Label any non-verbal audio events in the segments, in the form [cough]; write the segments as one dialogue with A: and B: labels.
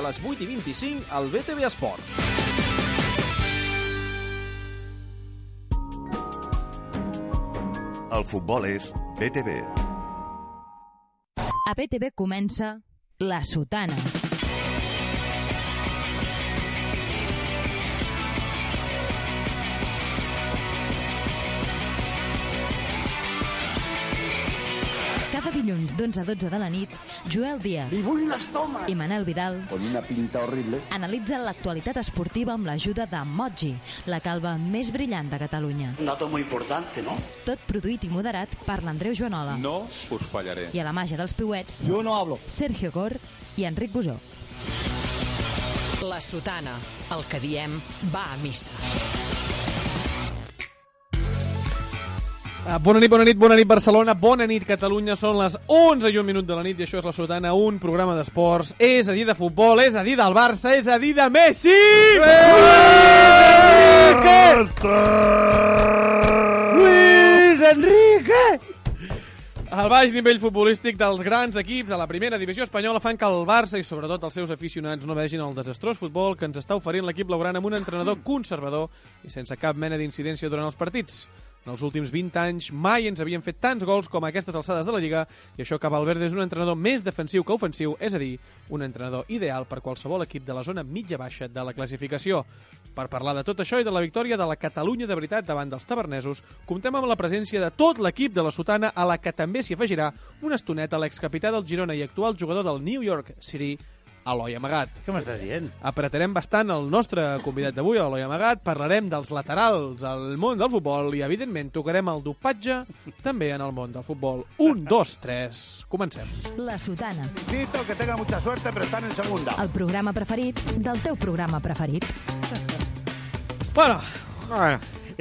A: a les 8 i 25 al BTV Esports.
B: El futbol és BTV.
C: A BTV comença La Sotana. Cada dilluns d'11 a 12 de la nit, Joel Díaz
D: ¡Y voy las tomas!
C: i Manel Vidal
D: Con una pinta horrible.
C: analitzen l'actualitat esportiva amb l'ajuda de Moji, la calva més brillant de Catalunya.
E: Un dato muy importante, ¿no?
C: Tot produït i moderat per l'Andreu Joanola
F: No us fallaré.
C: i a la màgia dels piuets
G: Yo no hablo.
C: Sergio Gor i Enric Gusó.
H: La sotana, el que diem, va a missa.
I: Ah, Bona nit, bona nit, bona nit Barcelona, bona nit Catalunya, són les 11 i un minut de la nit i això és La Sotana, un programa d'esports, és a dir de futbol, és a dir del Barça, és a dir de Messi!
G: ¡Luis Enrique!
I: El baix nivell futbolístic dels grans equips de la primera divisió espanyola fan que el Barça i sobretot els seus aficionats no vegin el desastrós futbol que ens està oferint l'equip blaugrana amb un entrenador conservador i sense cap mena d'incidència durant els partits. En els últims 20 anys mai ens havien fet tants gols com a aquestes alçades de la Lliga i això que Valverde és un entrenador més defensiu que ofensiu, és a dir, un entrenador ideal per qualsevol equip de la zona mitja-baixa de la classificació. Per parlar de tot això i de la victòria de la Catalunya de veritat davant dels tavernesos, comptem amb la presència de tot l'equip de la Sotana a la que també s'hi afegirà una estoneta l'excapità del Girona i actual jugador del New York City, Eloi Amagat.
G: ¿Qué me estás diciendo?
I: Apretarem bastant el nostre convidat d'avui, Eloi Amagat, parlarem dels laterals al món del futbol i, evidentment, tocarem el dopatge també en el món del futbol. Un, dos, tres, comencem.
C: La Sotana,
D: Insisto que tenga mucha suerte, pero están en segunda.
I: Ah.
C: el programa preferit del teu programa preferit.
I: Bueno,
J: Ah, Bueno,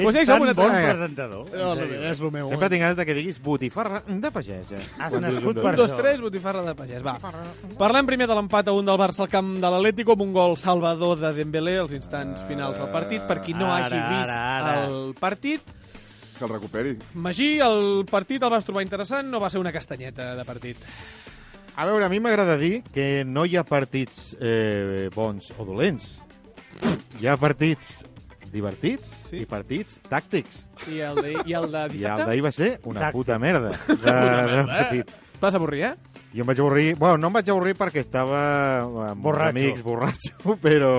I: Pues ja hi som, una
G: bon
I: altra.
G: presentador. en sèrio.
J: és el meu. Sempre
I: eh.
J: tinc ganes de que diguis botifarra de eh. pagesa.
G: Has nascut per
I: un, dos,
G: això.
I: tres, botifarra de pagès, va. Parlem primer de l'empat a un del Barça al camp de l'Atlético amb un gol salvador de Dembélé als instants finals del partit, per qui no
G: Ara,
I: hagi
G: ara,
I: vist
G: ara.
I: el partit.
F: Que el recuperi.
I: Magí, el partit el vas trobar interessant, no va ser una castanyeta de partit.
J: A veure, a mi m'agrada dir que no hi ha partits eh, bons o dolents. Hi ha partits divertits
I: Sí.
J: sí. i partits tàctics.
I: I el de, i el de
J: I el
I: dissabte?
J: d'ahir va ser una
G: Tàctic.
J: puta merda. De, de
G: eh?
J: partit.
I: Et vas avorrir, eh?
J: Jo em vaig avorrir... Bueno, no em vaig avorrir perquè estava amb
G: Borratxo.
J: uns amics, borratxo, [laughs] però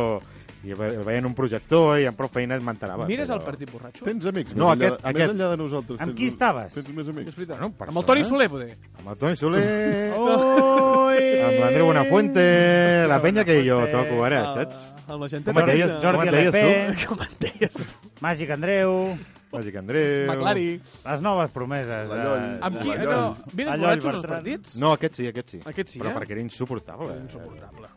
J: i ve- veien un projector i amb prou feines
G: Ah,
J: m'enterava.
I: Mires el
J: però-
I: partit borratxo? eh?
F: Tens amics més,
J: No,
F: enllà,
J: aquest-
F: de-
J: aquest.
F: més enllà de nosaltres.
G: Amb
F: tens-
G: qui estaves?
F: Tens més amics.
J: Bueno,
I: Amb el Toni
G: eh?
J: persona.
I: Soler, poder.
J: eh? Amb el Toni Soler.
G: Oi!
J: Amb l'Andreu Buenafuente, la penya que jo toco ara,
I: Ah,
J: saps?
I: Amb la gent
J: Com et deies,
G: Jordi
J: com et deies
G: LP.
J: tu?
I: [laughs] Com et deies tu?
G: Màgic Andreu,
J: Màgic Andreu...
I: McLari.
G: les noves promeses.
F: La Lloll.
G: eh,
I: Amb qui?
F: Allò-
I: No, mires
G: Allò i
I: borratxos els
G: Bertran.
I: partits?
J: No, aquest sí, aquest sí.
I: Aquest sí,
J: Però
I: eh?
J: perquè era insuportable.
I: Insuportable.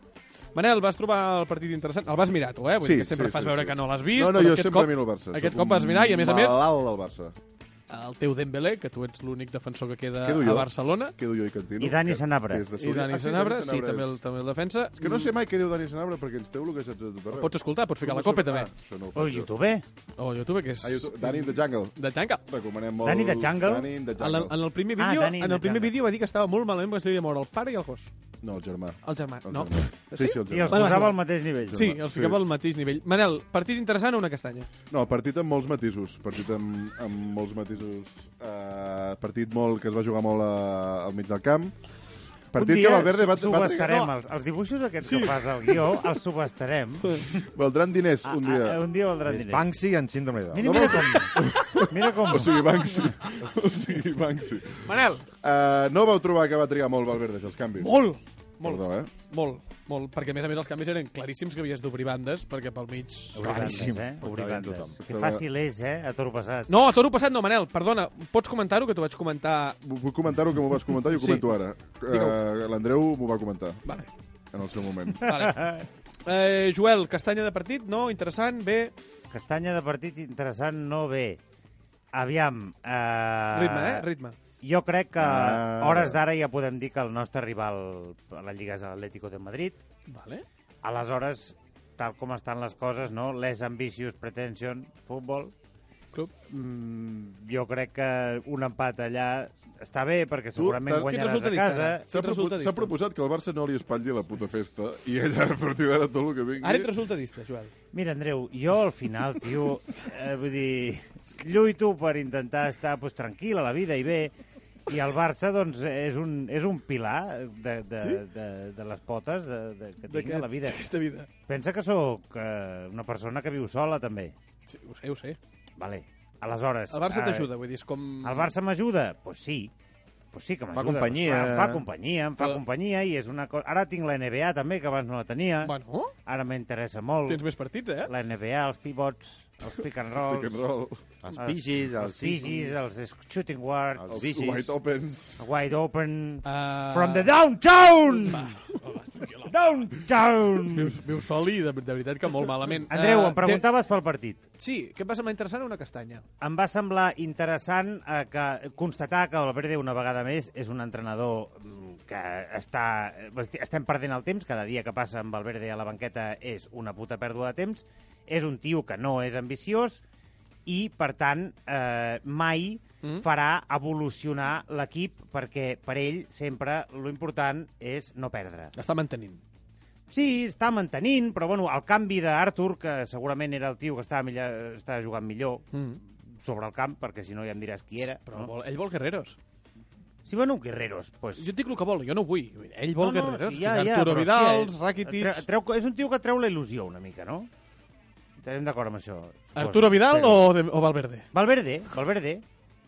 I: Manel, vas trobar el partit interessant? El vas mirar tu, eh? Vull
F: Sí,
I: dir que sempre
F: sí,
I: fas
F: sí,
I: veure
F: sí.
I: que no l'has vist.
F: No, no,
I: però
F: jo
I: aquest
F: sempre
I: cop,
F: miro el Barça.
I: Aquest
F: Sóc
I: cop
F: un
I: vas mirar i, a més a més,
F: Malalt del Barça.
I: el teu Dembélé, que tu ets l'únic defensor que queda
F: Quedo
I: a
F: jo.
I: Barcelona,
F: Quedo jo i Cantino.
G: I Dani
F: que-
G: Sanabra.
F: que és de
I: i
F: Súria.
I: Dani
F: Ah, sí,
I: Sanabra, sí,
F: Sanabra
I: també
F: és-
I: el, també el defensa.
F: És que no sé mai què diu Dani Sanabra perquè ens treu el que saps de tot arreu.
I: Pots escoltar, pots ficar la
F: Com ho
I: copa,
F: saps?
I: també.
F: Ah, això no ho
G: O
F: faig jo.
G: Oh, YouTube.
I: O YouTube, oh, que és...
F: Ah, YouTube. Dani in the Jungle.
I: De tanca.
F: Recomanem molt...
G: Dani de Jungle?
F: Dani in the
I: En, el-
F: Jungle.
I: en el primer
G: Ah,
I: vídeo,
G: Dani,
I: en el primer
G: Dani.
I: vídeo va dir que estava molt malament perquè s'havia mort el pare i el gos.
F: No, el germà.
I: El germà,
F: El
I: no?
F: germà. Sí, sí, el
G: I els
F: germà.
I: Bueno,
G: posava
I: va.
G: al mateix nivell.
I: Sí, els ficava al mateix nivell. Manel, partit interessant o una castanya?
F: No, partit amb molts matisos. Partit amb, amb molts matisos. Uh, partit molt que es va jugar molt a, al mig del camp. Partit
G: Un dia
F: que Valverde va, va,
G: subestarem
F: va,
G: els, els dibuixos aquests sí. que fas al guió, els
J: [laughs]
G: subestarem.
F: valdran diners
I: Ah,
F: un dia.
G: A, a, un dia valdran
J: És
G: diners.
J: Banksy en síndrome de
G: Mira,
J: Down.
G: mira com. Mira com.
F: O sigui,
I: [laughs]
F: Banksy. O sigui, Banksy.
I: Manel!
F: Uh, no vau trobar que va trigar molt Valverde els canvis?
I: Molt! Molt,
F: Perdó, eh?
I: molt, molt. Perquè, a més a més, els canvis eren claríssims que havies d'obrir bandes, perquè pel mig...
G: Obrir bandes,
J: Claríssim.
G: eh?
J: Ho
G: Obrir
J: està dient
G: bandes.
J: tothom.
G: Que fàcil és, eh? A toro passat.
I: No, a toro passat no, Manel, perdona. Pots comentar-ho, que t'ho vaig comentar...
F: Vull- Vull comentar-ho que m'ho vas comentar i ho
I: Sí.
F: comento ara.
I: Digue-ho.
F: Uh, L'Andreu m'ho va comentar
I: Vale,
F: en el seu moment.
I: [laughs]
G: [laughs]
I: vale. Eh, Joel, castanya de partit, no? Interessant, bé...
G: Castanya de partit interessant no ve. Aviam. Eh...
I: Ritme, eh? Ritme.
G: Jo crec que
J: Ah.
G: a hores d'ara ja podem dir que el nostre rival a la Lliga és l'Atlético de Madrid.
I: Vale.
G: Aleshores, tal com estan les coses, no? Les ambicious pretension, futbol,
I: Club.
G: Mm, jo crec que un empat allà està bé, perquè segurament
F: tant-
G: guanyaràs
I: Quin
G: a
I: resultat
G: casa.
I: dista?
F: S'ha
I: Et resulta
F: propo- s'ha
I: distant.
F: proposat que el Barça no li espatlli la puta festa i ella [laughs] a partir d'ara tot el que vingui...
I: Ara et resulta dista, Joel.
G: Mira, Andreu, jo al final, tio, eh, vull dir, lluito per intentar estar pues, tranquil a la vida i bé, i el Barça, doncs, és un, és un pilar de, de, sí? de, de les potes de, de, que tinc de la vida.
I: Aquesta vida.
G: Pensa que sóc eh, una persona que viu sola, també.
I: Sí, ho sé, ho sé.
G: Vale. Aleshores...
I: El Barça
G: eh,
I: t'ajuda, vull dir, és com...
G: El Barça m'ajuda? Doncs pues sí. Pues sí que m'ajuda.
J: companyia.
G: Pues, clar, em fa companyia, em fa
I: Però-
G: companyia i és una cosa... Ara tinc la NBA també, que abans no la tenia.
I: Bueno,
G: Ara m'interessa molt.
I: tens més partits, eh?
G: La NBA, els pivots, els pick and rolls,
F: Rock and roll,
J: Els pigis, els
G: els, pigis, els shooting guards,
J: Els
F: els
J: Vigis.
F: White Opens...
G: wide open,
I: Uh...
G: from the downtown!
I: Ah,
G: downtown!
I: Vius, vius sol i de, de veritat que molt malament.
G: Andreu,
I: Eh,
G: em preguntaves pel partit.
I: Té... Sí, què em va semblar interessant una castanya?
G: Em va semblar interessant eh, que constatar que Valverde, una vegada més, és un entrenador mm, que està... eh, Estem perdent el temps, cada dia que passa amb Valverde a la banqueta és una puta pèrdua de temps, és un tio que no és ambiciós i, per tant, eh, mai mm. farà evolucionar l'equip perquè per ell sempre lo important és no perdre.
I: L'està mantenint.
G: Sí, està mantenint, però bueno, el canvi d'Arthur, que segurament era el tio que estava, millor, estava jugant millor
I: Mm.
G: sobre el camp, perquè si no ja em diràs qui era.
I: Però
G: no?
I: vol, ell vol guerreros.
G: Si van un guerreros, pues...
I: Jo et dic el que vol, jo no ho vull. Ell vol guerreros,
G: sí,
I: que és Arturo
G: però,
I: Vidal,
G: hòstia,
I: Rakitic...
G: Treu, treu, és un tio que treu la il·lusió una mica, no? Estarem d'acord amb això. suposo.
I: Arturo Vidal
G: Però-
I: o, de, o Valverde?
G: Valverde, Valverde.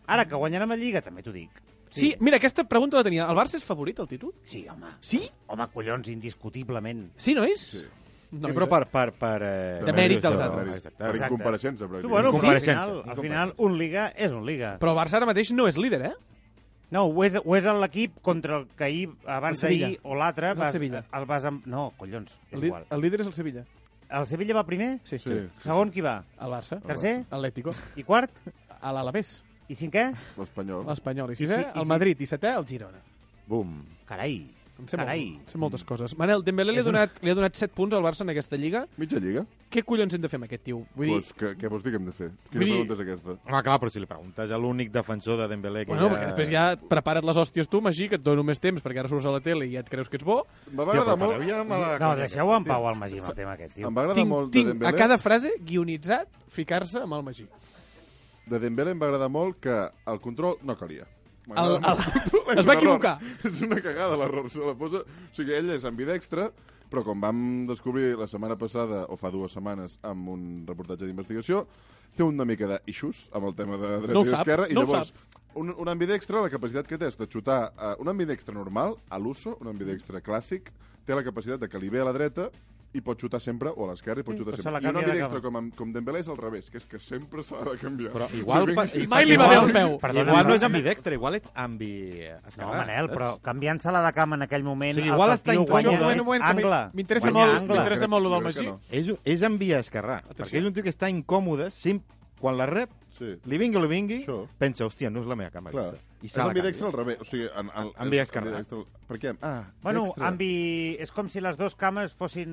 G: Ara que guanyarem la Lliga, també t'ho dic.
I: Sí. sí, mira, aquesta pregunta la tenia. El Barça és favorit, el títol?
G: Sí, home.
I: Sí?
G: Home, collons, indiscutiblement.
I: Sí, nois? Sí.
J: Sí, però per... per, per eh,
I: De mèrit dels
J: això,
I: altres.
J: Exacte.
F: Per
G: Exacte.
F: incompareixença, però...
G: Tu, bueno, al
J: Incompareixença.
G: final, al final, un Liga és un Liga.
I: Però el Barça ara mateix no és líder, eh?
G: No, ho és, ho és en l'equip contra el que ahir, abans
I: El Sevilla.
G: d'ahir, o l'altre...
I: És el
G: vas-
I: Sevilla.
G: El vas amb... No, collons, és
I: El, li-
G: igual.
I: el líder és el Sevilla.
G: El Sevilla va primer?
I: Sí.
F: Sí,
G: Segon qui va?
I: El Barça.
G: Tercer?
I: Atlético.
G: I quart?
I: A l'Alavés.
G: I cinquè?
F: l'espanyol.
I: L'Espanyol. I sisè,
G: sí, i
I: el
G: sí.
I: Madrid. I setè, el Girona.
J: Bum.
G: Carai,
I: Em sé,
G: carai.
I: molt, em sé moltes coses. Manel, Dembélé li ha, donat, li ha donat 7 punts al Barça en aquesta lliga.
F: Mitja lliga.
I: Què collons hem de fer amb aquest tio? Vull dir,
F: Pues, què, què vols dir que hem de fer?
I: Vull
F: Quina
I: dir-
F: pregunta és aquesta?
J: Home, clar, però si li preguntes a l'únic defensor de Dembélé que
I: bueno,
J: hi ha-
I: perquè després ja prepara't les hòsties tu, Magí, que et dono més temps perquè ara surts a la tele i ja et creus que ets bo.
F: Em va agradar molt...
J: Hòstia, però m'agrada
G: No,
J: conya
G: deixeu en
J: aquest,
G: pau al Magí amb el tema aquest, tio.
F: Em va agradar
I: Tinc,
F: molt de
I: tinc a
F: Dembélé.
I: cada frase guionitzat ficar-se amb el Magí.
F: De Dembélé em va agradar molt que el control no calia.
I: El-
F: M'agrada
I: el-
F: molt control, [laughs] és
I: es va
F: un error.
I: equivocar.
F: És una cagada l'error, se la posa... O sigui, ell és ambidextre, però com vam descobrir la setmana passada, o fa dues setmanes, amb un reportatge d'investigació, té una mica d'issues amb el tema de dreta
I: No ho
F: i
I: sap,
F: esquerra, i
I: no ho
F: llavors un, un ambidextre, la capacitat que té és de xutar... eh, un ambidextre normal, a l'uso, un ambidextre clàssic, té la capacitat de que li ve a la dreta i pot xutar sempre, o a l'esquerra, i pot xutar
G: però se la
F: sempre. I un
G: canvia de
F: ambidextre
G: cama.
F: com, amb- com Dembélé és al revés, que és que sempre s'ha de canviar.
J: Però igual...
F: Vinga,
J: per-
I: Mai li va bé
J: igual-
I: el peu.
G: Perdona,
J: Igual
G: però-
J: no és ambidextre, igual ets ambi...
G: No,
J: esquerrat,
G: Manel,
J: saps?
G: però canviant-se-la de camp en aquell moment...
J: O sigui, igual
G: el
J: està
G: tio
J: intuït.
G: guanya
J: Un moment,
G: és
J: un
I: moment, que mi-
G: angle.
I: m'interessa
G: Guanya
I: molt,
G: angle.
I: m'interessa molt lo del
F: Jo crec que
I: Magí.
F: no.
J: És, és envia esquerrà, perquè és un tio que està incòmode sempre, quan la rep,
F: Sí.
J: li vingui o li vingui,
F: Això.
J: pensa, hòstia, no és la meva cama
F: Clar.
J: aquesta. I
F: és
J: se la
F: ambidextre
J: canvia.
F: al revés. O sigui, en, en,
J: Ambidextre.
F: ambidextre. Per què? Ah,
G: Bueno,
F: dextre.
G: ambi... és com si les dues cames fossin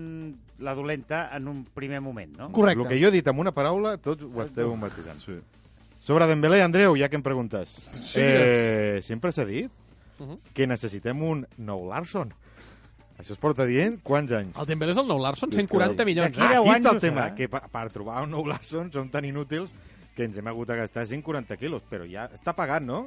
G: la dolenta en un primer moment, no?
J: El
I: Correcte.
J: que jo he dit amb una paraula, tots ho esteu matisant.
F: Sí.
J: Sobre Dembélé, Andreu, ja que em preguntes. eh, sempre s'ha dit que necessitem un nou Larson. Això es porta dient quants anys?
I: El Dembélé és el nou Larson,
F: És que-
I: 140 milions.
G: D'aquí
I: eh?
G: deu
J: Ah, Aquí
G: anys
J: està
G: ho
J: el tema,
G: serà.
J: que per, per trobar un nou Larson som tan inútils que ens hem hagut de gastar 140 quilos, però ja està pagat, no?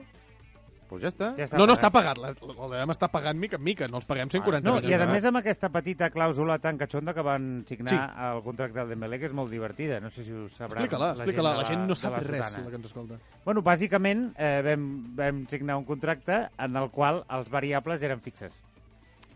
J: Doncs ja està.
G: Ja
I: No, no, està pagat. la- El Dembélé està pagant mica en mica. No els paguem 140
G: No,
I: milions.
G: i a
I: d'euros.
G: més amb aquesta petita clàusula tan catxonda que van signar
I: Sí.
G: al contracte del Dembélé, que és molt divertida, no sé si ho sabrà
I: Explica-la, explica-la. La, gent no
G: de
I: sap
G: la
I: res,
G: sotana.
I: la que ens escolta.
G: Bueno, bàsicament eh, vam, vam signar un contracte en el qual els variables eren fixes.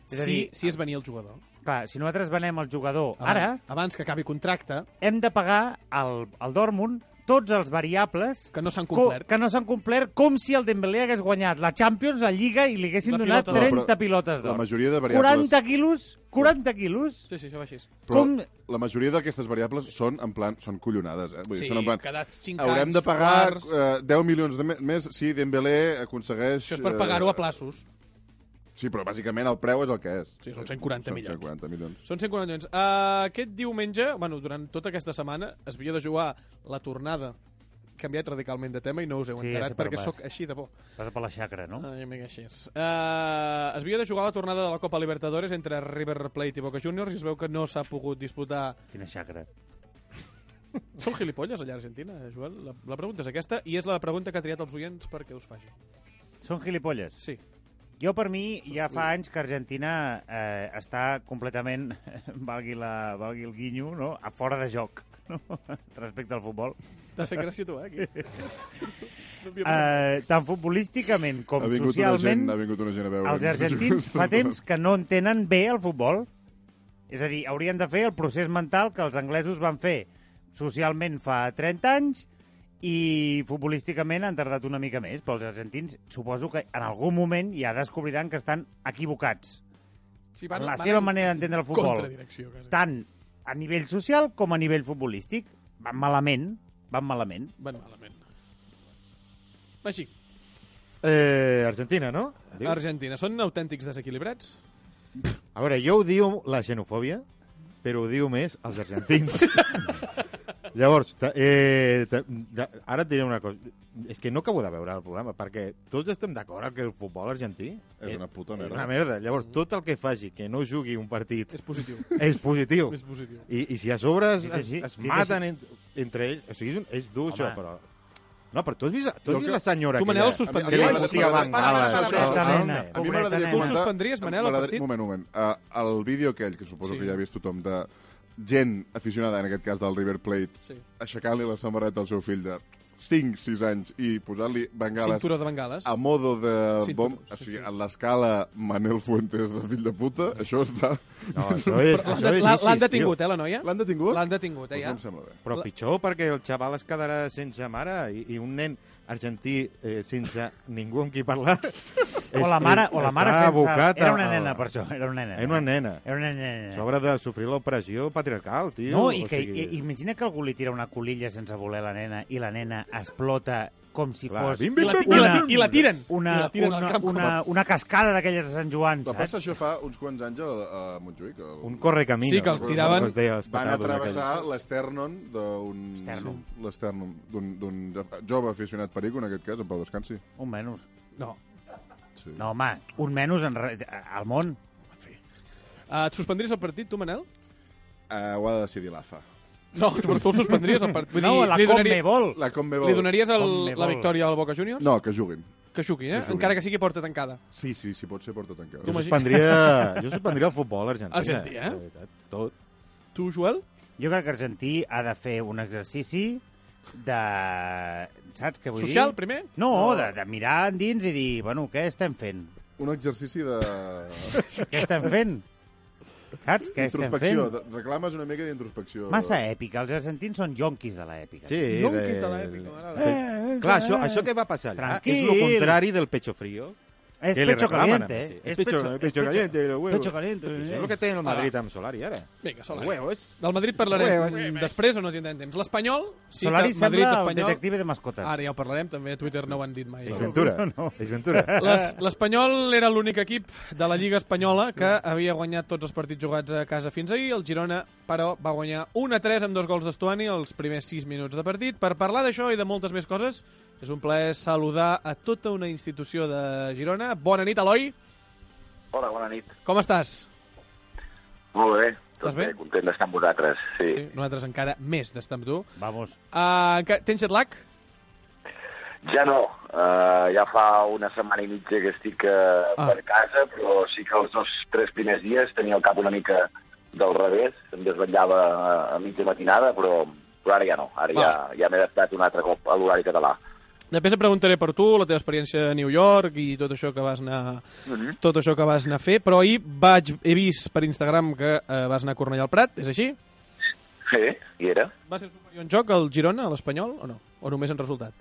G: És a
I: Si,
G: dir,
I: si es venia el jugador.
G: clar, si nosaltres venem el jugador
I: Abans,
G: ara,
I: Abans que acabi contracte,
G: hem de pagar al, al Dortmund tots els variables
I: que no s'han
G: co-
I: complert.
G: que no s'han complert, com si el Dembélé hagués guanyat la Champions, la Lliga, i li haguessin
I: La
G: donat
I: pilota d'or.
G: 30 pilotes
F: La
G: d'or.
F: majoria de variables...
G: 40 quilos, 40 quilos,
I: Sí, sí, això va així.
F: Però
G: com-
F: la majoria d'aquestes variables són en plan... Són collonades, eh? Vull
I: Sí,
F: dir, són en plan...
I: quedats cinc
F: Haurem
I: anys,
F: de pagar
I: quarts.
F: eh, 10 milions de me- més si Dembélé aconsegueix...
I: Això
F: eh,
I: és per pagar-ho a plaços.
F: Sí, però bàsicament el preu és el que és.
I: Sí, són 140
F: Són
I: milions.
F: 140 milions.
I: Són 140 milions. Eh, Uh, aquest diumenge, bueno, durant tota aquesta setmana, es havia de jugar la tornada canviat radicalment de tema i no us heu
J: Sí, ja
I: enterat
J: sé per
I: perquè
J: on vas.
I: sóc així de por.
J: Passa per la xacra, no?
I: Ai, amic, així és. Uh, es havia de jugar la tornada de la Copa Libertadores entre River Plate i Boca Juniors i es veu que no s'ha pogut disputar...
J: Quina xacra.
I: Són gilipolles allà a Argentina, eh, Joel? La, la pregunta és aquesta i és la pregunta que ha triat els oients perquè us faci.
J: Són gilipolles.
I: Sí.
J: Jo, per mi, ja fa anys que Argentina eh, està completament, [laughs] valgui, la, valgui el guinyo, no? a fora de joc no? [laughs] respecte al futbol.
I: T'has fet gràcia tu, eh, aquí?
J: [laughs]
I: No havia pensat.
J: Eh, tant futbolísticament com
F: Ha vingut, una gent,
J: socialment,
F: ha vingut una gent a veure.
J: els
G: [laughs]
J: argentins fa temps que no entenen bé el futbol. És a dir, haurien de fer el procés mental que els anglesos van fer socialment fa 30 anys i futbolísticament han tardat una mica més, però els argentins suposo que en algun moment ja descobriran que estan equivocats.
I: Sí,
J: en la seva
I: en
J: manera d'entendre el futbol.
I: Contradirecció, quasi.
J: tant a nivell social com a nivell futbolístic. Van malament, van malament.
I: Van malament. Així,
G: Eh, Argentina, no? Diu.
I: Argentina. Són autèntics desequilibrats?
G: A veure, jo ho diu la xenofòbia, però ho diu més els
I: [laughs]
G: argentins. Llavors, ta, eh, ta, da, ara et diré una cosa. És que no acabo de veure el programa, perquè tots estem d'acord que el futbol argentí eh,
F: És una puta
G: és
F: merda.
G: una merda. Llavors, tot el que faci que no jugui un partit
I: És
J: [laughs]
I: positiu.
G: és positiu.
I: és positiu.
G: I, i si a sobre es,
J: Dit
G: es,
J: així,
G: es
J: dit
G: maten en, entre ells... O sigui, és, un, és dur, Home. això,
J: Home.
G: però... No, però tu has vist, tu
F: Jo
G: has vist
F: que-
G: la senyora
I: Tu, Manel,
G: aquella?
I: suspendries-
G: Que li
I: Para, para,
G: fotia
F: para, para,
G: bangales.
I: para, para,
G: Això-
J: para,
G: això-
J: para,
G: això-
F: A
J: para.
F: mi
J: Pobreta
F: m'agradaria
J: nena.
F: comentar-
I: Tu suspendries, Manel, el
F: m'agradaria-
I: partit?
F: Un moment, un moment. Uh, el vídeo aquell, que suposo
I: Sí.
F: que ja ha vist tothom, de gent aficionada, en aquest cas del River Plate,
I: Sí.
F: aixecant-li la samarreta al seu fill de 5-6 anys i posant-li bengales
I: Cinturó de bengales.
F: a modo de
I: Cinturó,
F: bom...
I: sí,
F: O sigui,
I: sí.
F: en l'escala Manel Fuentes de fill de puta, això està...
G: No, això és...
I: L'han
G: això
I: de-
G: és
I: l'ha-
G: ISIS,
I: L'han
G: tio.
I: detingut, eh, la noia?
F: L'han detingut?
I: L'han detingut, eh,
F: Doncs
I: ja.
F: no em sembla bé.
G: Però
I: La-
G: pitjor perquè el xaval es quedarà sense mare i, i un nen argentí eh, sense ningú amb qui parlar...
J: [laughs] O la mare, o la mare
G: està
J: sense...
G: abocat
J: Era
G: a-
J: una nena, per això. Era una nena.
G: Era una nena.
J: Era una nena.
G: Sobre de sofrir l'operació patriarcal, tio.
J: No, i que,
G: o sigui,
J: i, imagina que algú li tira una colilla sense voler a la nena i la nena explota com si
G: Clar,
J: fos
G: bim,
I: I
G: bim,
I: la,
G: bim,
I: i, la,
G: bim.
I: I la tiren.
J: una,
I: I la tiren al
J: una,
I: camp.
J: una, una cascada d'aquelles de Sant Joan,
F: Va passar
J: saps?
F: això fa uns quants anys a, a Montjuïc. El...
G: Un correcamino.
I: Sí, que el
G: no?
I: tiraven-
G: Com es deia, els
F: Van
G: patados
F: atrevessar
G: aquells.
F: l'esternon d'un...
J: Esternum.
F: L'esternum d'un- d'un jove aficionat perico, en aquest cas, en Pau Descansi.
J: Un menys.
I: No.
F: Sí.
J: No, home, un menys en, re- al món.
I: Uh, et suspendries el partit, tu, Manel?
F: Eh, ho ha de decidir l'AFA.
I: No, però tu el suspendries el partit. Vull
J: No,
I: dir,
J: la
I: li, donaria,
J: Conmebol.
F: La Conmebol...
I: li donaries el,
J: Conmebol.
I: la victòria al Boca Juniors?
F: No, que juguin.
I: Que xuqui, eh?
F: Que xuqui.
I: Encara que sigui porta tancada.
F: Sí, sí, sí, pot ser porta tancada.
I: Tu
G: Jo
I: m'has-
J: [laughs]
G: suspendria, jo suspendria el futbol argentí.
I: Argentí, eh?
G: de veritat, Tot.
I: Tu, Joel?
J: Jo crec que Argentí ha de fer un exercici de... Saps què vull
I: Social,
J: dir?
I: primer?
J: No, de, de mirar endins i dir, bueno, què estem fent?
F: Un exercici [laughs] de...
J: Què estem
G: [laughs]
J: fent? Saps què estem fent?
F: introspecció. De... Reclames una mica d'introspecció.
J: Massa èpica. Els argentins són yonquis de l'èpica.
G: Sí,
I: Yonquis de l'èpica, m'agrada.
G: Eh, Clar, això, això que va passar allà és el
J: Tranquil.
G: contrari del pecho frío.
J: És
G: que li
J: pecho
G: reclamen,
J: caliente,
G: eh?
J: eh?
G: Sí,
J: És
G: pecho-
J: pecho-
G: pecho
J: és
G: caliente, el huevo.
J: Pecho caliente.
G: Això
J: eh?
G: és el que té el Madrid amb Solari, ara.
I: Vinga, Solari.
G: Huevos.
I: Del Madrid parlarem
G: Ué,
I: mm, després o no tindrem temps. L'Espanyol, sí
J: Solari
I: que Madrid,
J: sembla el
I: Espanyol...
J: detective de mascotes.
I: Ara ja ho parlarem, també a Twitter no ho han dit mai.
G: És Ventura.
J: No.
G: És Ventura. [laughs]
I: Les- L'Espanyol era l'únic equip de la Lliga Espanyola que havia guanyat tots els partits jugats a casa fins ahir. El Girona, però, va guanyar 1-3 amb dos gols d'Estuani els primers 6 minuts de partit. Per parlar d'això i de moltes més coses, és un plaer saludar a tota una institució de Girona. Bona nit, Eloi.
B: Hola, bona nit.
I: Com estàs?
B: Molt bé.
I: Estàs bé?
B: Content d'estar amb vosaltres, sí.
I: Sí, nosaltres encara més d'estar amb tu.
J: Vamos.
I: Uh, tens jet lag?
B: Ja no. Uh, ja fa una setmana i mitja que estic uh,
I: Ah.
B: ah. per casa, però sí que els dos, tres primers dies tenia el cap una mica del revés. Em desvetllava a mitja matinada, però, però ara ja no. Ara ja,
I: Ah.
B: ja m'he adaptat un altre cop a l'horari català.
I: Després et preguntaré per tu, la teva experiència a New York i tot això que vas anar,
B: Mhm.
I: tot això que vas anar a fer, però ahir vaig, he vist per Instagram que eh, vas anar a Cornellà al Prat, és així?
B: Sí, hi era.
I: Va ser superior en joc el Girona, a l'Espanyol, o no? O només en resultat?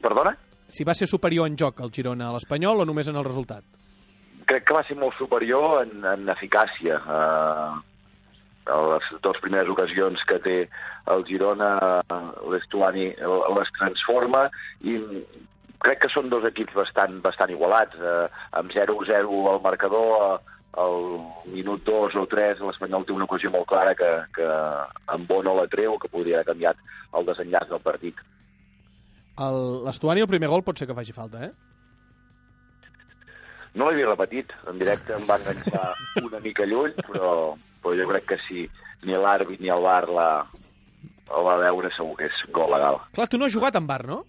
B: Perdona?
I: Si va ser superior en joc el Girona a l'Espanyol o només en el resultat?
B: crec que va ser molt superior en, en eficàcia. Eh, a les dues primeres ocasions que té el Girona, eh, l'Estuani eh, les transforma i crec que són dos equips bastant, bastant igualats. Eh, amb 0-0 al marcador, eh, al minut 2 o 3 l'Espanyol té una ocasió molt clara que, que en Bono la treu, que podria haver canviat el desenllaç del partit.
I: el- l'Estuani el primer gol pot ser que faci falta, eh?
B: No l'havia repetit, en directe em va
I: [laughs]
B: enganxar una mica lluny, però, però jo crec que si ni l'àrbit ni el bar la, el va veure segur que és gol legal.
I: Clar, tu no has jugat amb bar, no?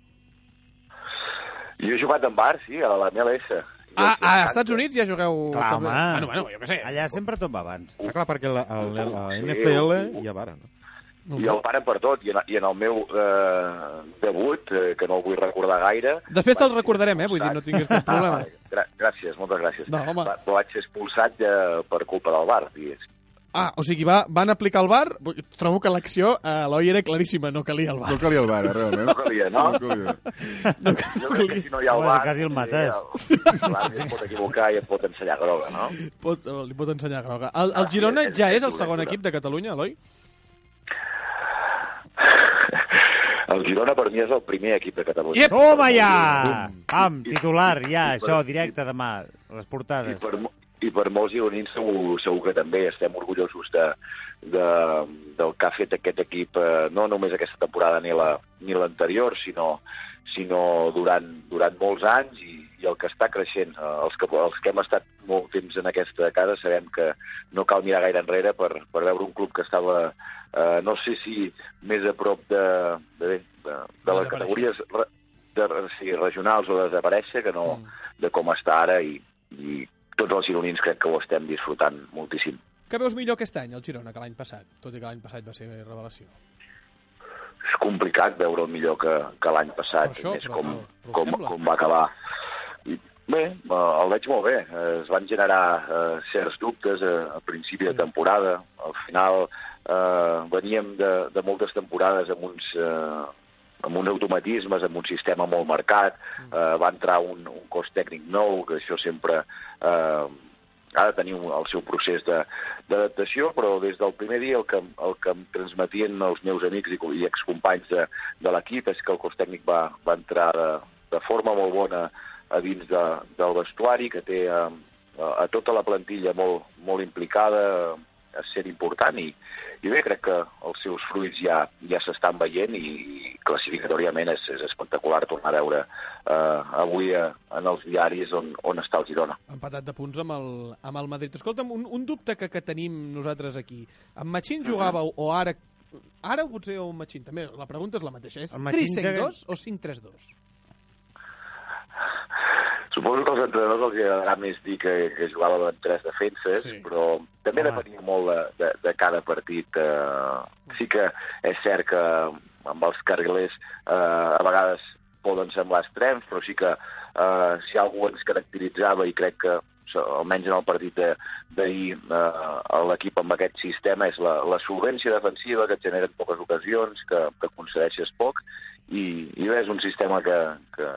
B: Jo he jugat en bar, sí, a la MLS.
I: A, Ah, a Estats Units ja jugueu...
G: Clar,
I: també.
G: home.
I: Bueno, bueno, jo què sé.
G: Allà sempre tot va abans.
J: Ah, clar, perquè la, el, el, la
B: Sí,
J: NFL
B: ho- ho-
J: ja vara, no?
I: No ho
B: I
I: sé.
B: el paren per tot, i en, i en el meu eh, debut, eh, que no el vull recordar gaire...
I: Després te'l
B: vaig ser
I: recordarem, eh? Vull dir, no
B: expulsat.
I: tinguis cap problema.
B: Ah, gra- gràcies, moltes gràcies.
I: No, home.
B: Va, vaig ser expulsat eh, per culpa del bar,
I: [laughs]
B: digués.
I: Ah, o sigui, va, van aplicar el bar. Trobo que l'acció eh, a Eloi era claríssima, no calia el
F: No
I: bar.
F: calia el bar, eh, realment. No
B: calia, no?
F: No calia.
B: Jo crec que si no hi ha el
G: Home,
B: bar...
G: quasi el
B: eh,
G: mates.
B: L'àrbit es pot equivocar i et pot ensenyar groga, no?
I: Pot, eh, li pot ensenyar groga. El, el Girona ja Ah, és el segon equip de Catalunya, Eloi?
B: El Girona per mi és el primer equip de Catalunya.
I: Iep!
G: Toma ja! Pam,
B: I-
G: titular, ja,
B: i-
G: això,
B: i-
G: directe demà, les
B: I
G: portades.
B: per, mo- i per molts gironins segur, segur que també estem orgullosos de, de, del que ha fet aquest equip, eh, no només aquesta temporada ni la- ni l'anterior, la, sinó, sinó durant, durant molts anys i, i el que està creixent. Eh, els, que, els que hem estat molt temps en aquesta casa sabem que no cal mirar gaire enrere per, per veure un club que estava, eh, no sé si més a prop de, de, de, de les
I: Desaparèixer.
B: categories re, de, sí, regionals o desaparèixer que no,
I: Mm.
B: de com està ara i, i tots els gironins crec que ho estem disfrutant moltíssim.
I: Que veus millor aquest any, el Girona, que l'any passat? Tot i que l'any passat va ser revelació.
B: És complicat veure el millor que, que l'any passat,
I: Per això,
B: i més
I: però-
B: com,
I: però us
B: com,
I: sembla?
B: com va acabar. I, bé, eh, el veig molt bé. Eh, Es van generar eh, certs dubtes eh, a principi sí. de temporada. Al final eh, veníem de, de moltes temporades amb uns... Eh, amb uns automatismes, amb un sistema molt marcat,
I: Mm.
B: eh, va entrar un, un cos tècnic nou, que això sempre eh, ha de tenir un, el seu procés de- d'adaptació, però des del primer dia el que, el que em transmetien els meus amics i, co- i excompanys de, de l'equip és que el cos tècnic va, va entrar de, de forma molt bona a dins de, del vestuari, que té a, a tota la plantilla molt, molt implicada a ser important i, i bé, crec que els seus fruits ja ja s'estan veient i, i classificatòriament és, és espectacular tornar a veure eh, avui eh, en els diaris on, on està el Girona.
I: Empatat de punts amb el, amb el Madrid. Escolta'm, un, un dubte que, que tenim nosaltres aquí. En Machín jugàveu o ara... Ara o potser o Machín? També la pregunta és la mateixa. És
G: El Machín
I: 3-5-2 o 5-3-2?
B: Suposo que als entrenadors els agradarà més dir que, que jugava amb tres defenses,
I: Sí.
B: sí. però també
G: Home.
B: depenia molt de, de, de cada partit. Eh, sí que és cert que amb els carrilers eh, a vegades poden semblar extrems, però sí que eh, si algú ens caracteritzava i crec que so- almenys en el partit de- d'ahir eh, l'equip amb aquest sistema és la, la solvència defensiva que et generen poques ocasions, que, que concedeixes poc i, i bé, és un sistema que, que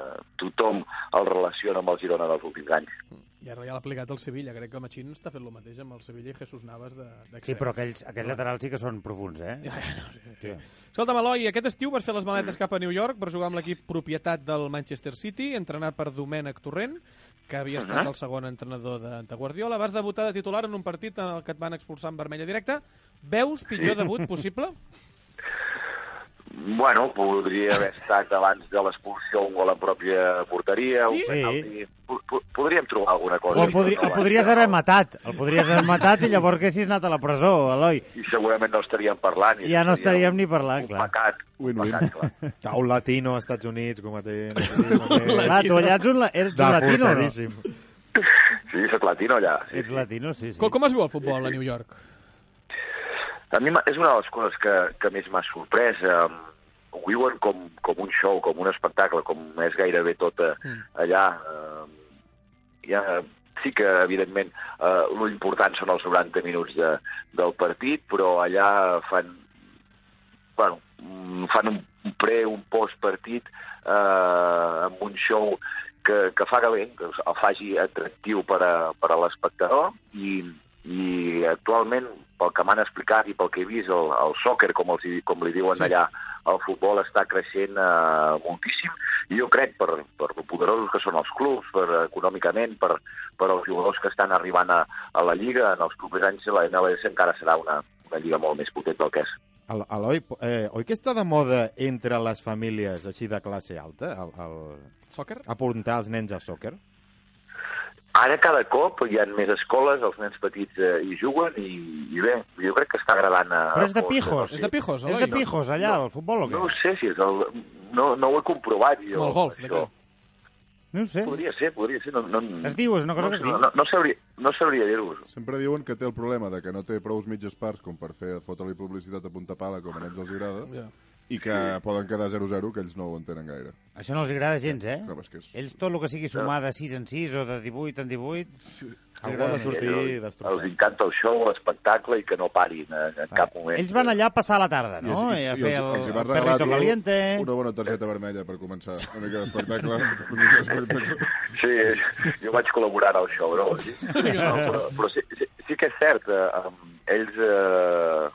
B: tothom el relaciona amb el Girona dels últims anys.
I: I ara ja l'ha aplicat el Sevilla. Crec que Machín està fent el mateix amb el Sevilla i Jesús Navas de- d'extrem.
G: Sí, però aquells, aquells laterals sí que són profuns, eh?
I: Ja, ja, no sé. Escolta'm, Eloi, aquest estiu vas fer les maletes cap a New York per jugar amb l'equip propietat del Manchester City, entrenat per Domènec Torrent, que havia estat el segon entrenador de, de Guardiola. Vas debutar de titular en un partit en el que et van expulsar en vermella directa. Veus pitjor debut possible?
B: Bueno, podria haver estat abans de l'expulsió un gol en pròpia porteria, un
G: Sí?
B: penalti... Po- po- Podríem trobar alguna cosa.
G: O el, podri, el podries haver matat, el podries haver matat i llavors que haguessis anat a la presó, Eloi.
B: I segurament no estaríem parlant. i
G: Ja no
B: seria
G: estaríem ni parlant,
B: un
G: clar.
B: Pecat, un
F: Win-win.
B: pecat, clar.
J: Clar, un latino als Estats Units, com a té...
G: Clar, Ah, tu allà ets un, la- ets un latino, no?
J: Deportadíssim.
B: Sí, és latino allà. Sí,
G: Ets latino, sí, sí.
I: Com, com es viu el futbol a New York?
B: A mi m'ha- és una de les coses que, que més m'ha sorprès. Um, ho viuen com, com un show, com un espectacle, com és gairebé tot eh, allà. Um, ja, sí que, evidentment, uh, l'important són els 90 minuts de, del partit, però allà fan, bueno, mm, fan un un pre, un postpartit eh, amb un show que, que fa que bé, que el faci atractiu per a, per a l'espectador i, i actualment, pel que m'han explicat i pel que he vist, el, el soccer, com, els, hi- com li diuen
I: Sí.
B: sí. allà, el futbol està creixent eh, moltíssim i jo crec per, per lo poderosos que són els clubs, per econòmicament, per, per els jugadors que estan arribant a, a la Lliga, en els propers anys la MLS encara serà una, una Lliga molt més potent del que és.
J: El- Eloi, eh, oi que està de moda entre les famílies així de classe alta el, el,
I: Soccer?
J: apuntar els nens a soccer?
B: Ara cada cop hi ha més escoles, els nens petits eh, hi juguen i, i bé, jo crec que està agradant a...
G: Però és de
B: a molts, eh,
G: pijos.
B: no sé.
I: És de pijos,
G: És
I: Eloi?
G: de pijos, allà, al futbol o què?
B: No ho sé si és el... No, no ho he comprovat jo.
I: Com el golf, de
B: això.
I: què?
G: No ho sé.
B: Podria ser, podria ser. No, no,
G: Es diu, és una cosa
B: no,
G: que es diu.
B: No, no, no sabria, no sabria dir-vos.
F: Sempre diuen que té el problema de que no té prous mitges parts com per fer fotre-li publicitat a punta pala com a nens els agrada
I: Ja.
F: i que poden quedar 0-0, que ells no ho entenen gaire.
G: Això no els agrada gens, eh?
F: No, és que és...
G: Ells tot el que sigui sumar de 6 en 6 o de 18 en 18...
J: Algú ha de sortir
B: Eh, Els
J: destrossat.
B: encanta el show, l'espectacle i que no parin eh, en cap moment.
G: Ells van allà a passar la tarda, no? I,
F: I,
G: a
F: els, i
G: fer
F: els,
G: el,
F: els hi
G: el
F: vas regalar
G: perrito
F: tu
G: caliente...
F: una bona targeta vermella per començar una mica d'espectacle. una mica
G: [laughs]
F: d'espectacle.
B: Sí, jo vaig col·laborar al show, no? no però, però sí, sí, sí que és cert, eh, em, ells eh,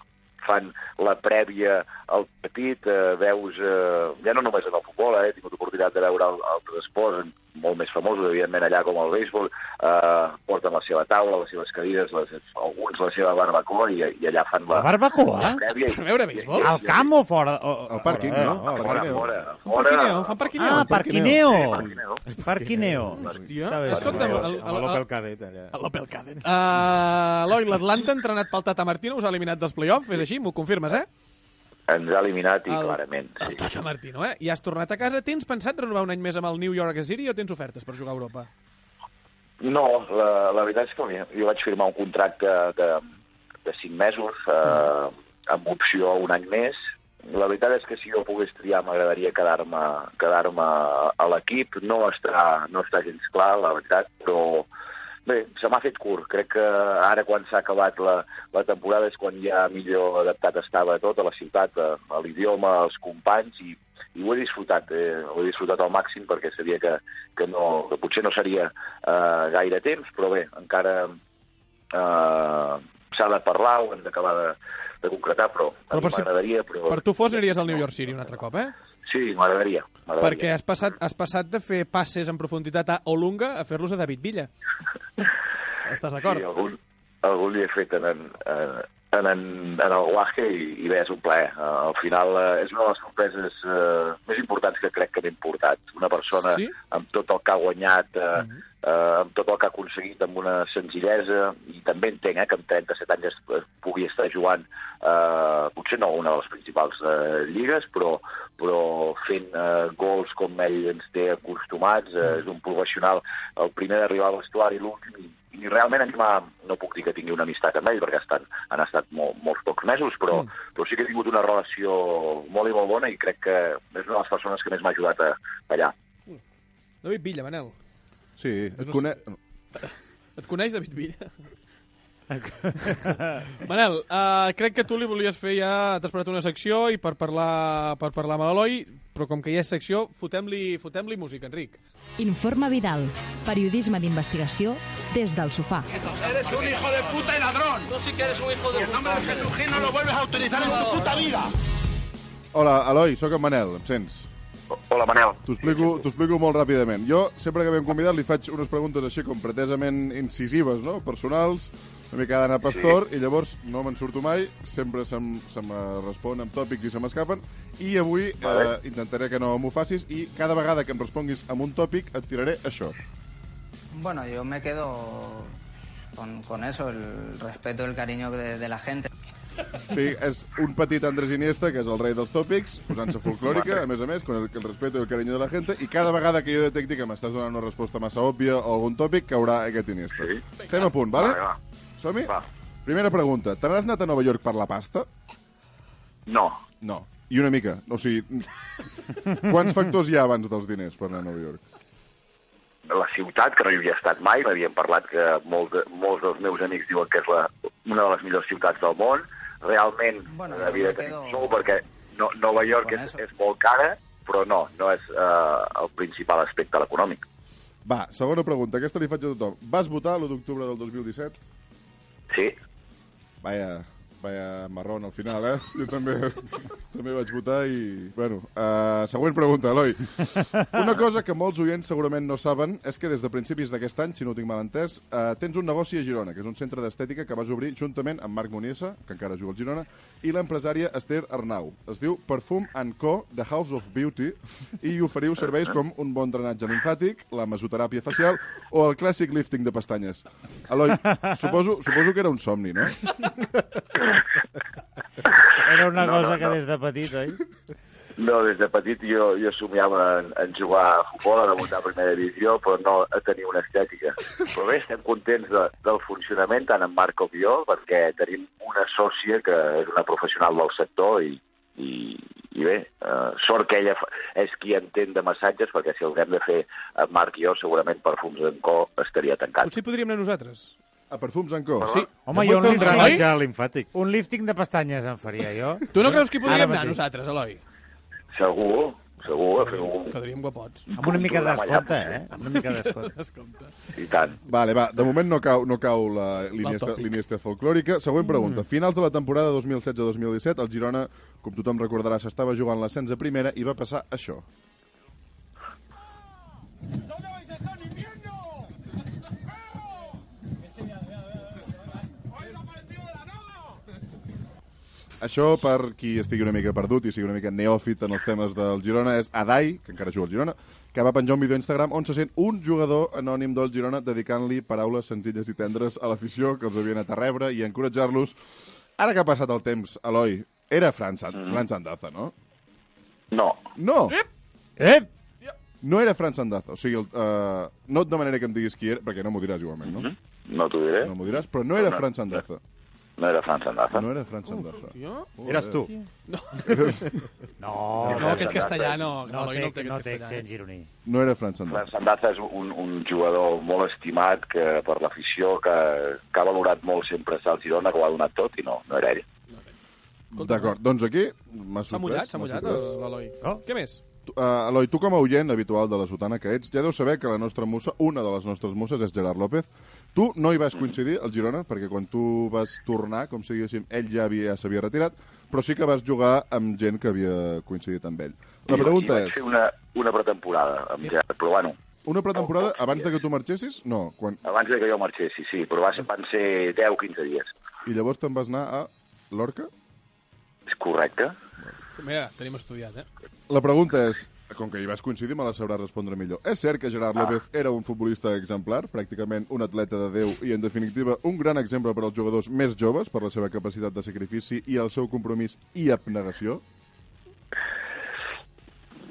B: fan la prèvia al partit, eh, veus, eh, ja no només en el futbol, eh, he tingut oportunitat de veure al- altres esports molt més famosos, evidentment allà com el béisbol, eh, porten la seva taula, les seves cadires, les, alguns la seva barbacoa i, i allà fan la,
G: La barbacoa?
B: prèvia. i-
I: Per veure béisbol?
G: Al camp o fora? O,
F: Al pàrquing,
J: Fora,
F: no?
J: eh?
F: Al
J: Fora,
B: Fora,
F: pàrquing.
B: fora,
I: Fan parquineo, fan parquineo.
G: Ah, parquineo!
B: Parquineo.
G: Parquineo.
I: Hòstia,
G: Està bé,
I: es
G: està
I: toca
G: bé.
I: amb el-
J: El, el, el cadet, allà.
I: A l'Opel Cadet. Uh, Eloi, l'Atlanta entrenat pel Tata Martino us ha eliminat dels play-offs, és així? M'ho confirmes, eh?
B: Ens ha eliminat i
I: El-
B: clarament.
I: El Tata Martino, eh? I has tornat a casa. Tens pensat renovar un any més amb el New York City o tens ofertes per jugar a Europa?
B: No, la, la veritat és que mira, jo vaig firmar un contracte de, de 5 mesos eh, amb opció a un any més. La veritat és que si jo pogués triar m'agradaria quedar-me quedar a l'equip. No, està, no està gens clar, la veritat, però bé, se m'ha fet curt. Crec que ara quan s'ha acabat la, la temporada és quan ja millor adaptat estava a tot, a la ciutat, a, a l'idioma, als companys, i, i ho he disfrutat, eh, ho he disfrutat al màxim perquè sabia que, que, no, que potser no seria eh, gaire temps, però bé, encara eh, s'ha de parlar, ho hem d'acabar de, de concretar, però,
I: Però
B: a
I: per
B: mi
I: si-
B: m'agradaria... Però...
I: Per tu fos aniries al New York City un altre cop, eh?
B: Sí, m'agradaria. m'agradaria.
I: Perquè has passat, has passat de fer passes en profunditat a Olunga a fer-los a David Villa. Estàs
B: Sí,
I: d'acord?
B: algun, algun li he fet en, en, eh, en, en, en el Guaje i, i bé, és un plaer. Eh, Al final eh, és una de les sorpreses eh, més importants que crec que m'he portat. Una persona
I: Sí?
B: amb tot el que ha guanyat, eh, eh, amb tot el que ha aconseguit, amb una senzillesa, i també entenc eh, que amb 37 anys es, es pugui estar jugant, eh, potser no una de les principals eh, lligues, però, però fent eh, gols com ell ens té acostumats, eh, és un professional el primer d'arribar al vestuari, l'últim, i, i realment a mi m'ha- no puc dir que tingui una amistat amb ell, perquè ha estat, han estat molt, molts pocs mesos, però, però sí que he tingut una relació molt i molt bona i crec que és una de les persones que més m'ha ajudat a, allà.
I: David Villa, Manel.
F: Sí, et conec...
I: Et coneix David Villa? Manel, uh, crec que tu li volies fer ja... T'has preparat una secció i per parlar, per parlar amb l'Eloi, però com que ja és secció, fotem-li fotem música, Enric.
C: Informa Vidal, periodisme d'investigació des del sofà.
D: Eres un hijo de puta y ladrón. Tú sí que eres un hijo de puta. el nombre de Jesús Gil no lo vuelves a utilizar en tu puta vida.
F: Hola, Eloi, sóc en Manel, em sents?
B: Hola, Manel.
F: T'ho explico, t'ho explico molt ràpidament. Jo, sempre que ve un convidat, li faig unes preguntes així com pretesament incisives, no? personals, una mica d'anar a pastor, i llavors no me'n surto mai, sempre se'm, se me respon amb tòpics i se m'escapen, i avui eh,
B: Vale.
F: intentaré que no m'ho facis, i cada vegada que em responguis amb un tòpic et tiraré això.
E: Bueno, yo me quedo con, con eso, el respeto, el cariño de, de la gente.
F: Sí, és un petit Andrés Iniesta, que és el rei dels tòpics, posant-se folclòrica, a més a més, con el, el respeto i el carinyo de la gent, i cada vegada que jo detecti que m'estàs donant una resposta massa òbvia o algun tòpic, caurà aquest Iniesta.
B: Sí.
F: Estem a punt, vale?
B: Vale, va.
F: Som-hi?
B: Va.
F: Primera pregunta. Te n'has anat a Nova York per la pasta?
B: No,
F: No. I una mica. O sigui, quants factors hi ha abans dels diners per anar a Nova York?
B: la ciutat, que no hi havia estat mai, m'havien parlat que molt, de- molts dels meus amics diuen que és la, una de les millors ciutats del món. Realment,
E: Bueno,
B: bueno,
E: jo
B: havia de
E: me
B: tenir
E: quedo-
B: sou perquè no, Nova York
E: con
B: és,
E: eso.
B: és molt cara, però no, no és eh, el principal aspecte a l'econòmic.
F: Va, segona pregunta. Aquesta li faig a tothom. Vas votar l'1 d'octubre del 2017?
B: Sí,
F: Vaja, Vaya marrón al final, eh? Jo també, [laughs] també vaig votar i... Bueno, uh, següent pregunta, Eloi. Una cosa que molts oients segurament no saben és que des de principis d'aquest any, si no ho tinc mal entès, uh, tens un negoci a Girona, que és un centre d'estètica que vas obrir juntament amb Marc Moniesa, que encara juga al Girona, i l'empresària Esther Arnau. Es diu Perfum and Co, The House of Beauty, i oferiu serveis com un bon drenatge linfàtic, la mesoteràpia facial o el clàssic lifting de pestanyes. Eloi, suposo, suposo que era un somni, no?
G: Era una
B: No, no,
G: cosa que
B: no.
G: des de petit, oi?
B: No, des de petit jo, jo somiava en, en jugar a futbol, a debutar a primera divisió, però no a tenir una estètica. Però bé, estem contents de, del funcionament, tant en Marc com jo, perquè tenim una sòcia que és una professional del sector i, i, i bé, eh, sort que ella fa- és qui entén de massatges, perquè si haguem de fer en Marc i jo, segurament Perfums en Co estaria tancat.
I: Potser podríem anar nosaltres.
F: A Ah, Perfums en Co?
I: Sí.
G: Home,
J: jo
G: jo un
J: vull fer un
G: lifting-
J: drenatge limfàtic.
G: Un lifting de pestanyes em faria, jo.
I: Tu no creus que hi
G: Ara
I: podríem anar
G: mateix.
I: nosaltres, Eloi?
B: Segur, segur, a fer un...
I: Quedaríem guapots.
G: Amb una mica de
B: programa
G: descompte,
B: allà.
G: eh? Amb una mica de
J: [laughs]
G: descompte.
B: I tant.
F: Vale, va, de moment no cau, no cau la línia,
I: L'alt
F: esta,
I: tòpic.
F: línia esta folclòrica. Següent pregunta. Finals de la temporada 2016-2017, el Girona, com tothom recordarà, s'estava jugant l'ascens a primera i va passar això. Això, per qui estigui una mica perdut i sigui una mica neòfit en els temes del Girona, és Adai, que encara juga al Girona, que va penjar un vídeo a Instagram on se sent un jugador anònim del Girona dedicant-li paraules senzilles i tendres a l'afició que els havien anat a rebre i a encoratjar-los. Ara que ha passat el temps, Eloi, era Fran, San Fran Sandaza, no?
B: No,
F: No!
J: Eh?
G: Ep!
F: No era Fran Sandaza. O sigui, el, eh, no et demanaré que em diguis qui era, perquè no m'ho diràs igualment,
B: Mm-hmm.
F: no?
B: no t'ho diré.
F: No m'ho diràs, però no era
B: No, no.
F: Fran Sandaza.
B: No era Fran Sandaza.
F: No era Fran Sandaza.
I: Jo?
J: Eres tu.
G: No,
I: No, aquest castellà no.
G: no,
I: Eloi,
G: té,
I: el té,
G: no
I: aquest
G: té
I: castellà.
G: accent gironí.
F: No era Fran
B: Fran
F: Sandaza.
B: Sandaza és un, un jugador molt estimat que, per l'afició, que, que ha valorat molt sempre estar al Girona, que ho ha donat tot, i no, no era ell.
F: D'acord, doncs aquí m'ha sorprès.
I: S'ha mullat, s'ha
F: m'ha
I: mullat
F: sorprès.
I: eh, l'Eloi.
G: Oh.
I: Què més?
F: Tu- eh, Eloi, tu com a oient habitual de la sotana que ets, ja deus saber que la nostra musa, una de les nostres muses, és Gerard López. Tu no hi vas
B: Mm-hmm.
F: coincidir, al Girona, perquè quan tu vas tornar, com si diguéssim, ell ja havia ja s'havia retirat, però sí que vas jugar amb gent que havia coincidit amb ell. La
B: I
F: pregunta
B: vaig
F: és,
B: fer una, una pretemporada amb Gerard, però bueno,
F: una pretemporada abans de que tu marxessis? No, quan...
B: abans de que jo marxessi, sí, però va ser, van ser 10 o 15 dies.
F: I llavors te'n vas anar a Lorca?
B: És correcte?
I: Mira, tenim estudiat, eh?
F: La pregunta és, com que hi vas coincidir, me la sabràs respondre millor. És cert que Gerard López era un futbolista exemplar, pràcticament un atleta de Déu i, en definitiva, un gran exemple per als jugadors més joves per la seva capacitat de sacrifici i el seu compromís i abnegació?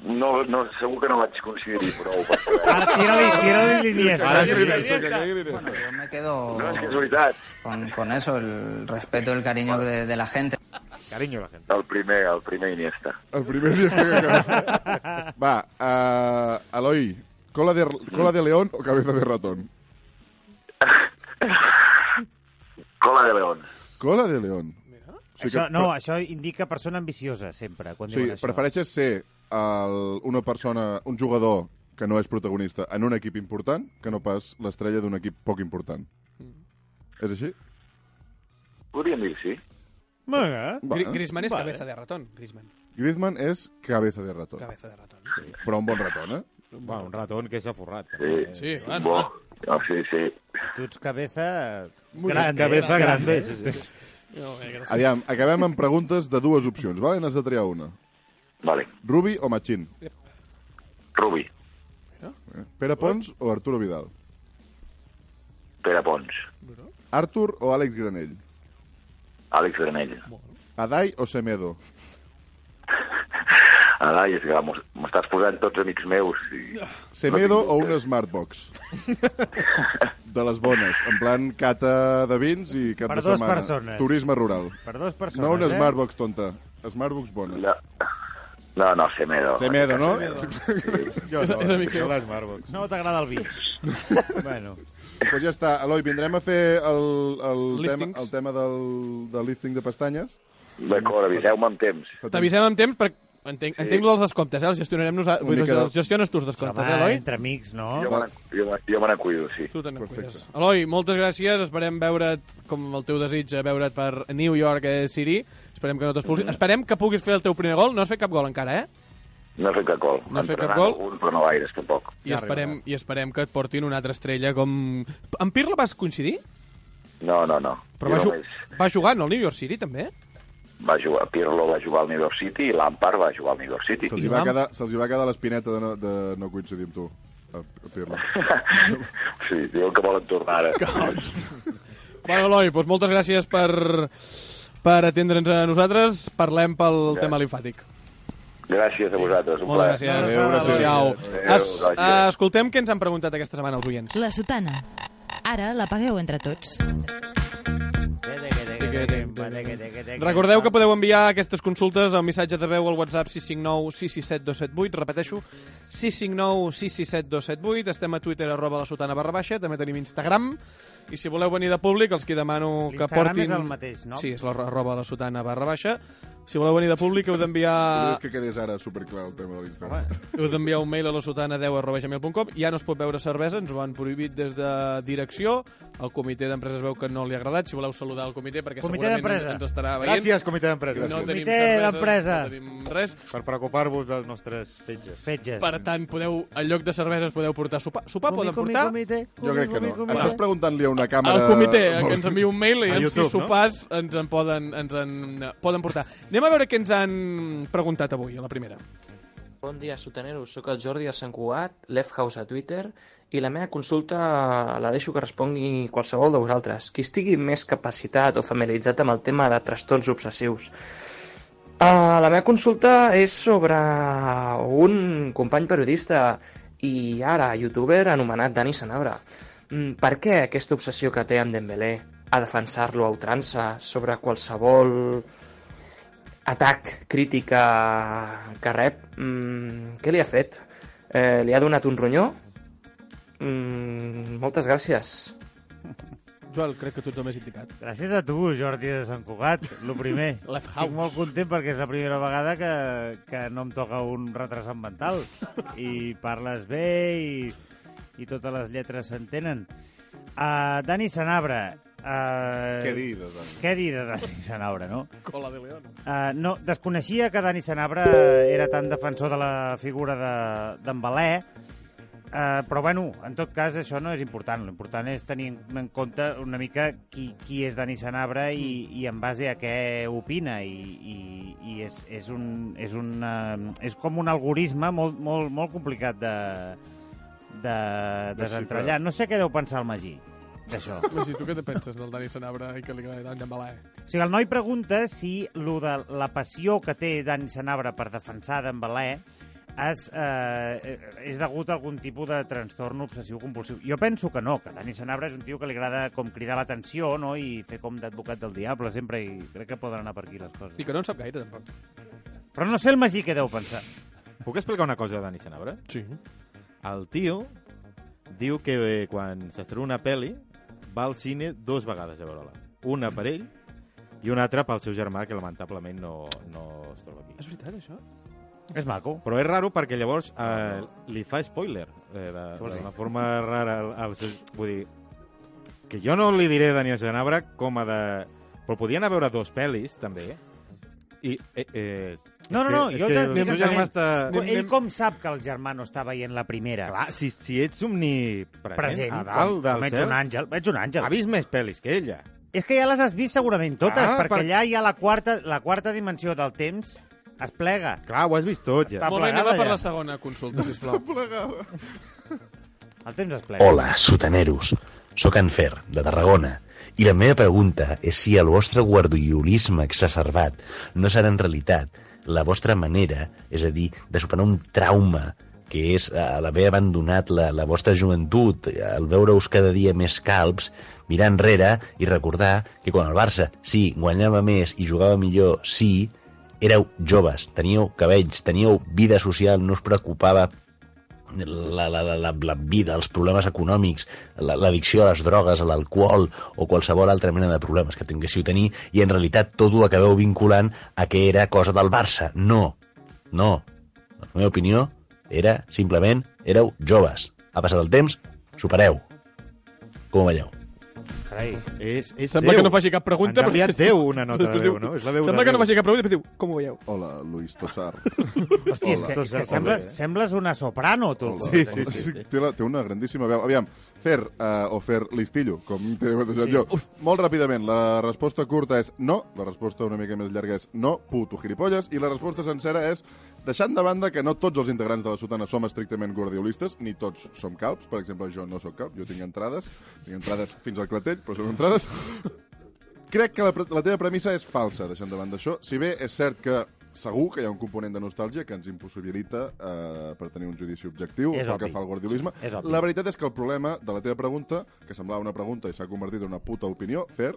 B: No, no, segur que no vaig coincidir prou per poder...
G: Ara, tira-li, tira-li
F: Ara
G: l'Iniesta.
F: sí, Iniesta, que caigui
E: Bueno,
F: l'Iniesta.
E: yo me
F: Oh.
E: quedo
B: No, és que és veritat.
E: con, con eso, el respeto, el cariño de, de la gente.
J: Carinyo a la gent.
B: El primer, el primer Iniesta.
F: El primer dia que [laughs] acaba. Va, uh, Eloi, cola de, cola de león o cabeza de ratón?
B: Cola de León.
F: Cola de león. O sigui
G: Això,
F: que-
G: no, això indica persona ambiciosa, sempre, quan
F: O sigui,
G: diuen això.
F: prefereixes ser el, una persona, un jugador que no és protagonista en un equip important que no pas l'estrella d'un equip poc important.
I: Mm.
F: És així?
B: Podríem dir, sí.
G: Molt bé.
F: Va,
I: Gri
F: eh?
I: Griezmann és
G: Vale.
I: cabeza de ratón. Griezmann,
F: Griezmann és cabeza de ratón,
I: cabeza de ratón.
F: però un bon ratón, eh?
J: Va, un raton que s'ha forrat.
B: Sí,
I: Sí, clar,
B: Bueno.
I: no.
B: Bo. No, sí, sí.
G: Tu ets cabeza...
I: Molt
G: grande,
J: Cabeza
G: eh?
J: grande. Sí, sí, sí.
I: No, bé, [laughs] gràcies.
F: Aviam, acabem amb preguntes de dues opcions, vale? N'has de triar una.
B: Vale.
F: Rubi o Machín?
B: Rubi,
F: Pere Pons o Arturo Vidal?
B: Pere Pons,
F: Artur o Àlex Granell?
B: Àlex Granell.
F: Adai o Semedo?
B: Ara, és que m'ho- m'estàs posant tots amics meus. I...
F: Semedo o una Smartbox? De les bones, en plan cata de vins i cap
G: Per
F: de
G: dues
F: setmana.
G: persones.
F: Turisme rural.
G: Per dues persones,
F: No una
G: eh?
F: Smartbox tonta. Smartbox bona.
B: No, no, no Semedo.
F: Semedo, no?
J: Jo
I: És-
J: no,
I: és amic
J: jo
I: seu.
J: les Marbox.
G: No t'agrada el
J: [laughs]
G: vi. bueno.
F: Doncs [laughs] pues ja està. Eloi, vindrem a fer el, el, tema,
I: Liftings.
F: el tema del, del lifting de pestanyes.
B: D'acord, aviseu-me amb temps.
F: Fa temps-
I: T'avisem amb temps per Entenc, entenc dels descomptes, eh? Els gestionarem nosaltres. Vull dir,
B: mica de-
I: els gestiones tu, els descomptes, eh, Eloi?
G: entre amics, no?
B: Jo me, n'en- jo, me- jo me n'acuido, sí.
I: Tu te n'acuides. Eloi, moltes gràcies. Esperem veure't, com el teu desig, eh, veure't per New York eh, City. Esperem que no t'expulsin. Esperem que puguis fer el teu primer gol. No has fet cap gol encara, eh?
B: No he fet cap gol.
I: No has fet cap
B: Entrenant
I: gol?
B: Algun, però no gaires, tampoc.
I: I esperem, I esperem que et portin una altra estrella com... En Pirlo vas coincidir?
B: No, no, no.
I: Però va,
B: Jo
I: ju
B: només
I: va jugar no, al New York City, també?
B: va jugar, Pirlo va jugar al New York City i Lampard va jugar al New York City.
F: Se'ls hi va, quedar, se va quedar l'espineta de, no, de no coincidir amb tu, a, a Pirlo.
I: Ah.
B: Sí, diuen que volen tornar ara.
I: Bueno, Eloi, doncs moltes gràcies per, per atendre'ns a nosaltres. Parlem pel
B: Gràcies.
I: tema linfàtic.
B: Gràcies a vosaltres, un plaer.
I: Moltes gràcies.
B: Adéu, gràcies.
I: Adéu.
B: Adéu,
I: Es,
B: gràcies.
I: escoltem què ens han preguntat aquesta setmana els oients.
C: La sotana. Ara la pagueu entre tots.
I: Recordeu que podeu enviar aquestes consultes al missatge de veu al WhatsApp 659 667 278, repeteixo, 659 667 278, estem a Twitter arroba la sotana barra baixa, també tenim Instagram, i si voleu venir de públic els que demano que
G: L'Instagram
I: portin...
G: és el mateix, no?
I: Sí, és la arroba la sotana barra baixa. Si voleu venir de públic heu d'enviar...
F: [laughs] És que quedés ara superclar el tema de l'Instagram.
I: Heu d'enviar un mail a la sotana 10 arroba gmail.com Ja no es pot veure cervesa, ens ho han prohibit des de direcció. El comitè d'empreses veu que no li ha agradat. Si voleu saludar el comitè, perquè
G: Comitè
I: segurament ens,
G: d'empresa.
I: ens estarà veient.
J: Gràcies, comitè d'empresa.
I: No tenim
G: Comitè
I: cerveses,
G: d'empresa.
I: No tenim res.
J: Per preocupar-vos dels nostres fetges.
G: Fetges.
I: Per tant, podeu, en lloc de cerveses podeu portar sopar. Sopar poden portar
F: Jo crec que no. Estàs preguntant-li a una càmera...
I: al comitè, eh, que ens envia un mail
J: [laughs]
I: i
F: A
I: en
F: YouTube,
I: si sopars ens en poden, ens en, eh, poden portar. Anem a veure què ens han preguntat avui, a la primera.
K: Bon dia, sotaneros. Sóc el Jordi de Sant Cugat, Lefhouse a Twitter, i la meva consulta la deixo que respongui qualsevol de vosaltres. Qui estigui més capacitat o familiaritzat amb el tema de trastorns obsessius. Uh, la meva consulta és sobre un company periodista i ara youtuber anomenat Dani Sanabra. Mm, Per què aquesta obsessió que té amb Dembélé a defensar-lo a ultrança sobre qualsevol atac, crítica que rep, mm, què li ha fet? Eh, li ha donat un ronyó? Mm, moltes gràcies.
I: Joel, crec que tu ets el més indicat.
G: Gràcies a tu, Jordi de Sant Cugat, lo primer.
I: Left
G: Estic molt content perquè és la primera vegada que, que no em toca un retrasant mental. I parles bé i, i totes les lletres s'entenen. Uh, Dani Sanabra. Uh,
F: Què doncs? dir de Dani?
G: Què dir de Dani Sanabra, no?
I: Cola de León.
G: Uh, no, desconeixia que Dani Sanabra era tan defensor de la figura de- d'en de, Balé, uh, però bueno, en tot cas això no és important. L'important és tenir en compte una mica qui, qui és Dani Sanabra i, i en base a què opina. I, i, i és, és, un, és, un, uh, és com un algoritme molt, molt, molt complicat de, de desentrellar. No sé què deu pensar el Magí d'això.
I: Luis, i tu què te penses del Dani Sanabra i que li agrada tant d'embalar?
G: O sigui, el noi pregunta si lo de la passió que té Dani Sanabra per defensar d'en Balé és, eh, és degut a algun tipus de trastorn obsessiu compulsiu. Jo penso que no, que Dani Sanabra és un tio que li agrada com cridar l'atenció no? i fer com d'advocat del diable sempre i crec que poden anar per aquí les coses.
I: I que no en sap gaire, tampoc.
G: Però no sé el Magí què deu pensar.
J: Puc explicar una cosa de Dani Sanabra?
I: Sí.
J: El tio diu que eh, quan s'estrena una pel·li va al cine dues vegades a veure-la. Una per ell i una altra pel seu germà, que lamentablement no, no es troba aquí.
I: És veritat, això?
G: És maco.
J: Però és raro perquè llavors eh, li fa spoiler eh, de-
G: vols dir?
J: d'una forma rara. Al, al seu, vull dir, que jo no li diré a Daniel Sanabra com a de... Però podien anar a veure dos pel·lis, també. I, eh, eh,
G: No, no,
J: és que-
G: no,
J: és
G: jo
J: que
G: t'estic
J: el seu germà
G: entenent.
J: està...
G: Ell com sap que el germà no està veient la primera?
J: Clar, si, si ets omnipresent,
G: present,
J: a dalt
G: com,
J: del
G: com ets
J: cel,
G: un àngel. Ets un àngel.
J: ha vist més pel·lis que ella.
G: És que ja les has vist segurament totes,
J: Ah,
G: ah, perquè
J: per-
G: per... allà hi ha la quarta, la quarta dimensió del temps, es plega.
J: Clar, ho has vist tot, ja.
G: Està
I: Molt bé, anem a
G: plegada,
I: per
G: ja.
I: la segona consulta,
J: [laughs]
I: sisplau.
G: El temps es plega.
L: Hola, sotaneros. Sóc en Fer, de Tarragona, i la meva pregunta és si el vostre guardiolisme exacerbat no serà en realitat la vostra manera, és a dir, de superar un trauma que és eh, l'haver abandonat la, la vostra joventut, eh, el veure-us cada dia més calbs, mirar enrere i recordar que quan el Barça, sí, guanyava més i jugava millor, sí, éreu joves, teníeu cabells, teníeu vida social, no us preocupava la, la, la, la, la vida, els problemes econòmics, la- l'addicció a les drogues, a l'alcohol o qualsevol altra mena de problemes que tinguéssiu tenir i en realitat tot ho acabeu vinculant a que era cosa del Barça. No, No. La meva opinió era, simplement, éreu joves. Ha passat el temps, supereu. Com ho veieu?
J: Carai, és, és
I: Sembla
J: Déu.
I: que no faci cap pregunta.
J: En
I: però
J: canvi,
I: després diu-
J: Déu una nota
I: després
J: de veu,
I: diu-
J: no? És la veu
I: Sembla
J: de
I: que no
J: Déu.
I: faci cap pregunta, després diu, com ho veieu?
F: Hola, Luis Tosar.
G: [laughs] Hòstia, és que, és que sembles, sembles una soprano, tu.
F: Sí, sí, sí. Té, la, té una grandíssima veu. Aviam, fer uh, o fer listillo, com t'he batejat
G: Sí.
F: sí. jo. Uf. Molt ràpidament, la resposta curta és no, la resposta una mica més llarga és no, puto gilipolles, i la resposta sencera és deixant de banda que no tots els integrants de la sotana som estrictament guardiolistes, ni tots som calps. Per exemple, jo no sóc calp, jo tinc entrades, tinc entrades fins al clatell, però són entrades. Crec que la, pre- la teva premissa és falsa, deixant de banda això. Si bé és cert que segur que hi ha un component de nostàlgia que ens impossibilita eh, per tenir un judici objectiu,
G: És
F: és el
G: obvi.
F: que fa el guardiolisme.
G: És obvi.
F: La veritat és que el problema de la teva pregunta, que semblava una pregunta i s'ha convertit en una puta opinió, fer,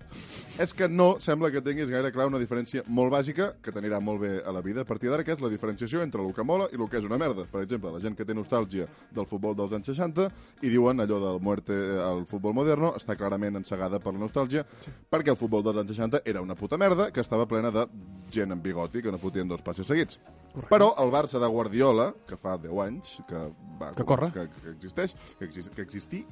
F: és que no sembla que tinguis gaire clar una diferència molt bàsica que t'anirà molt bé a la vida a partir d'ara, que és la diferenciació entre el que mola i el que és una merda. Per exemple, la gent que té nostàlgia del futbol dels anys 60 i diuen allò del muerte eh, al futbol moderno està clarament encegada per la nostàlgia perquè el futbol dels anys 60 era una puta merda que estava plena de gent amb bigoti que no fotien dos passes seguits. Correcte. Però el Barça de Guardiola, que fa 10 anys que va
I: Que corre.
F: que, que existeix, que, exist, que existí,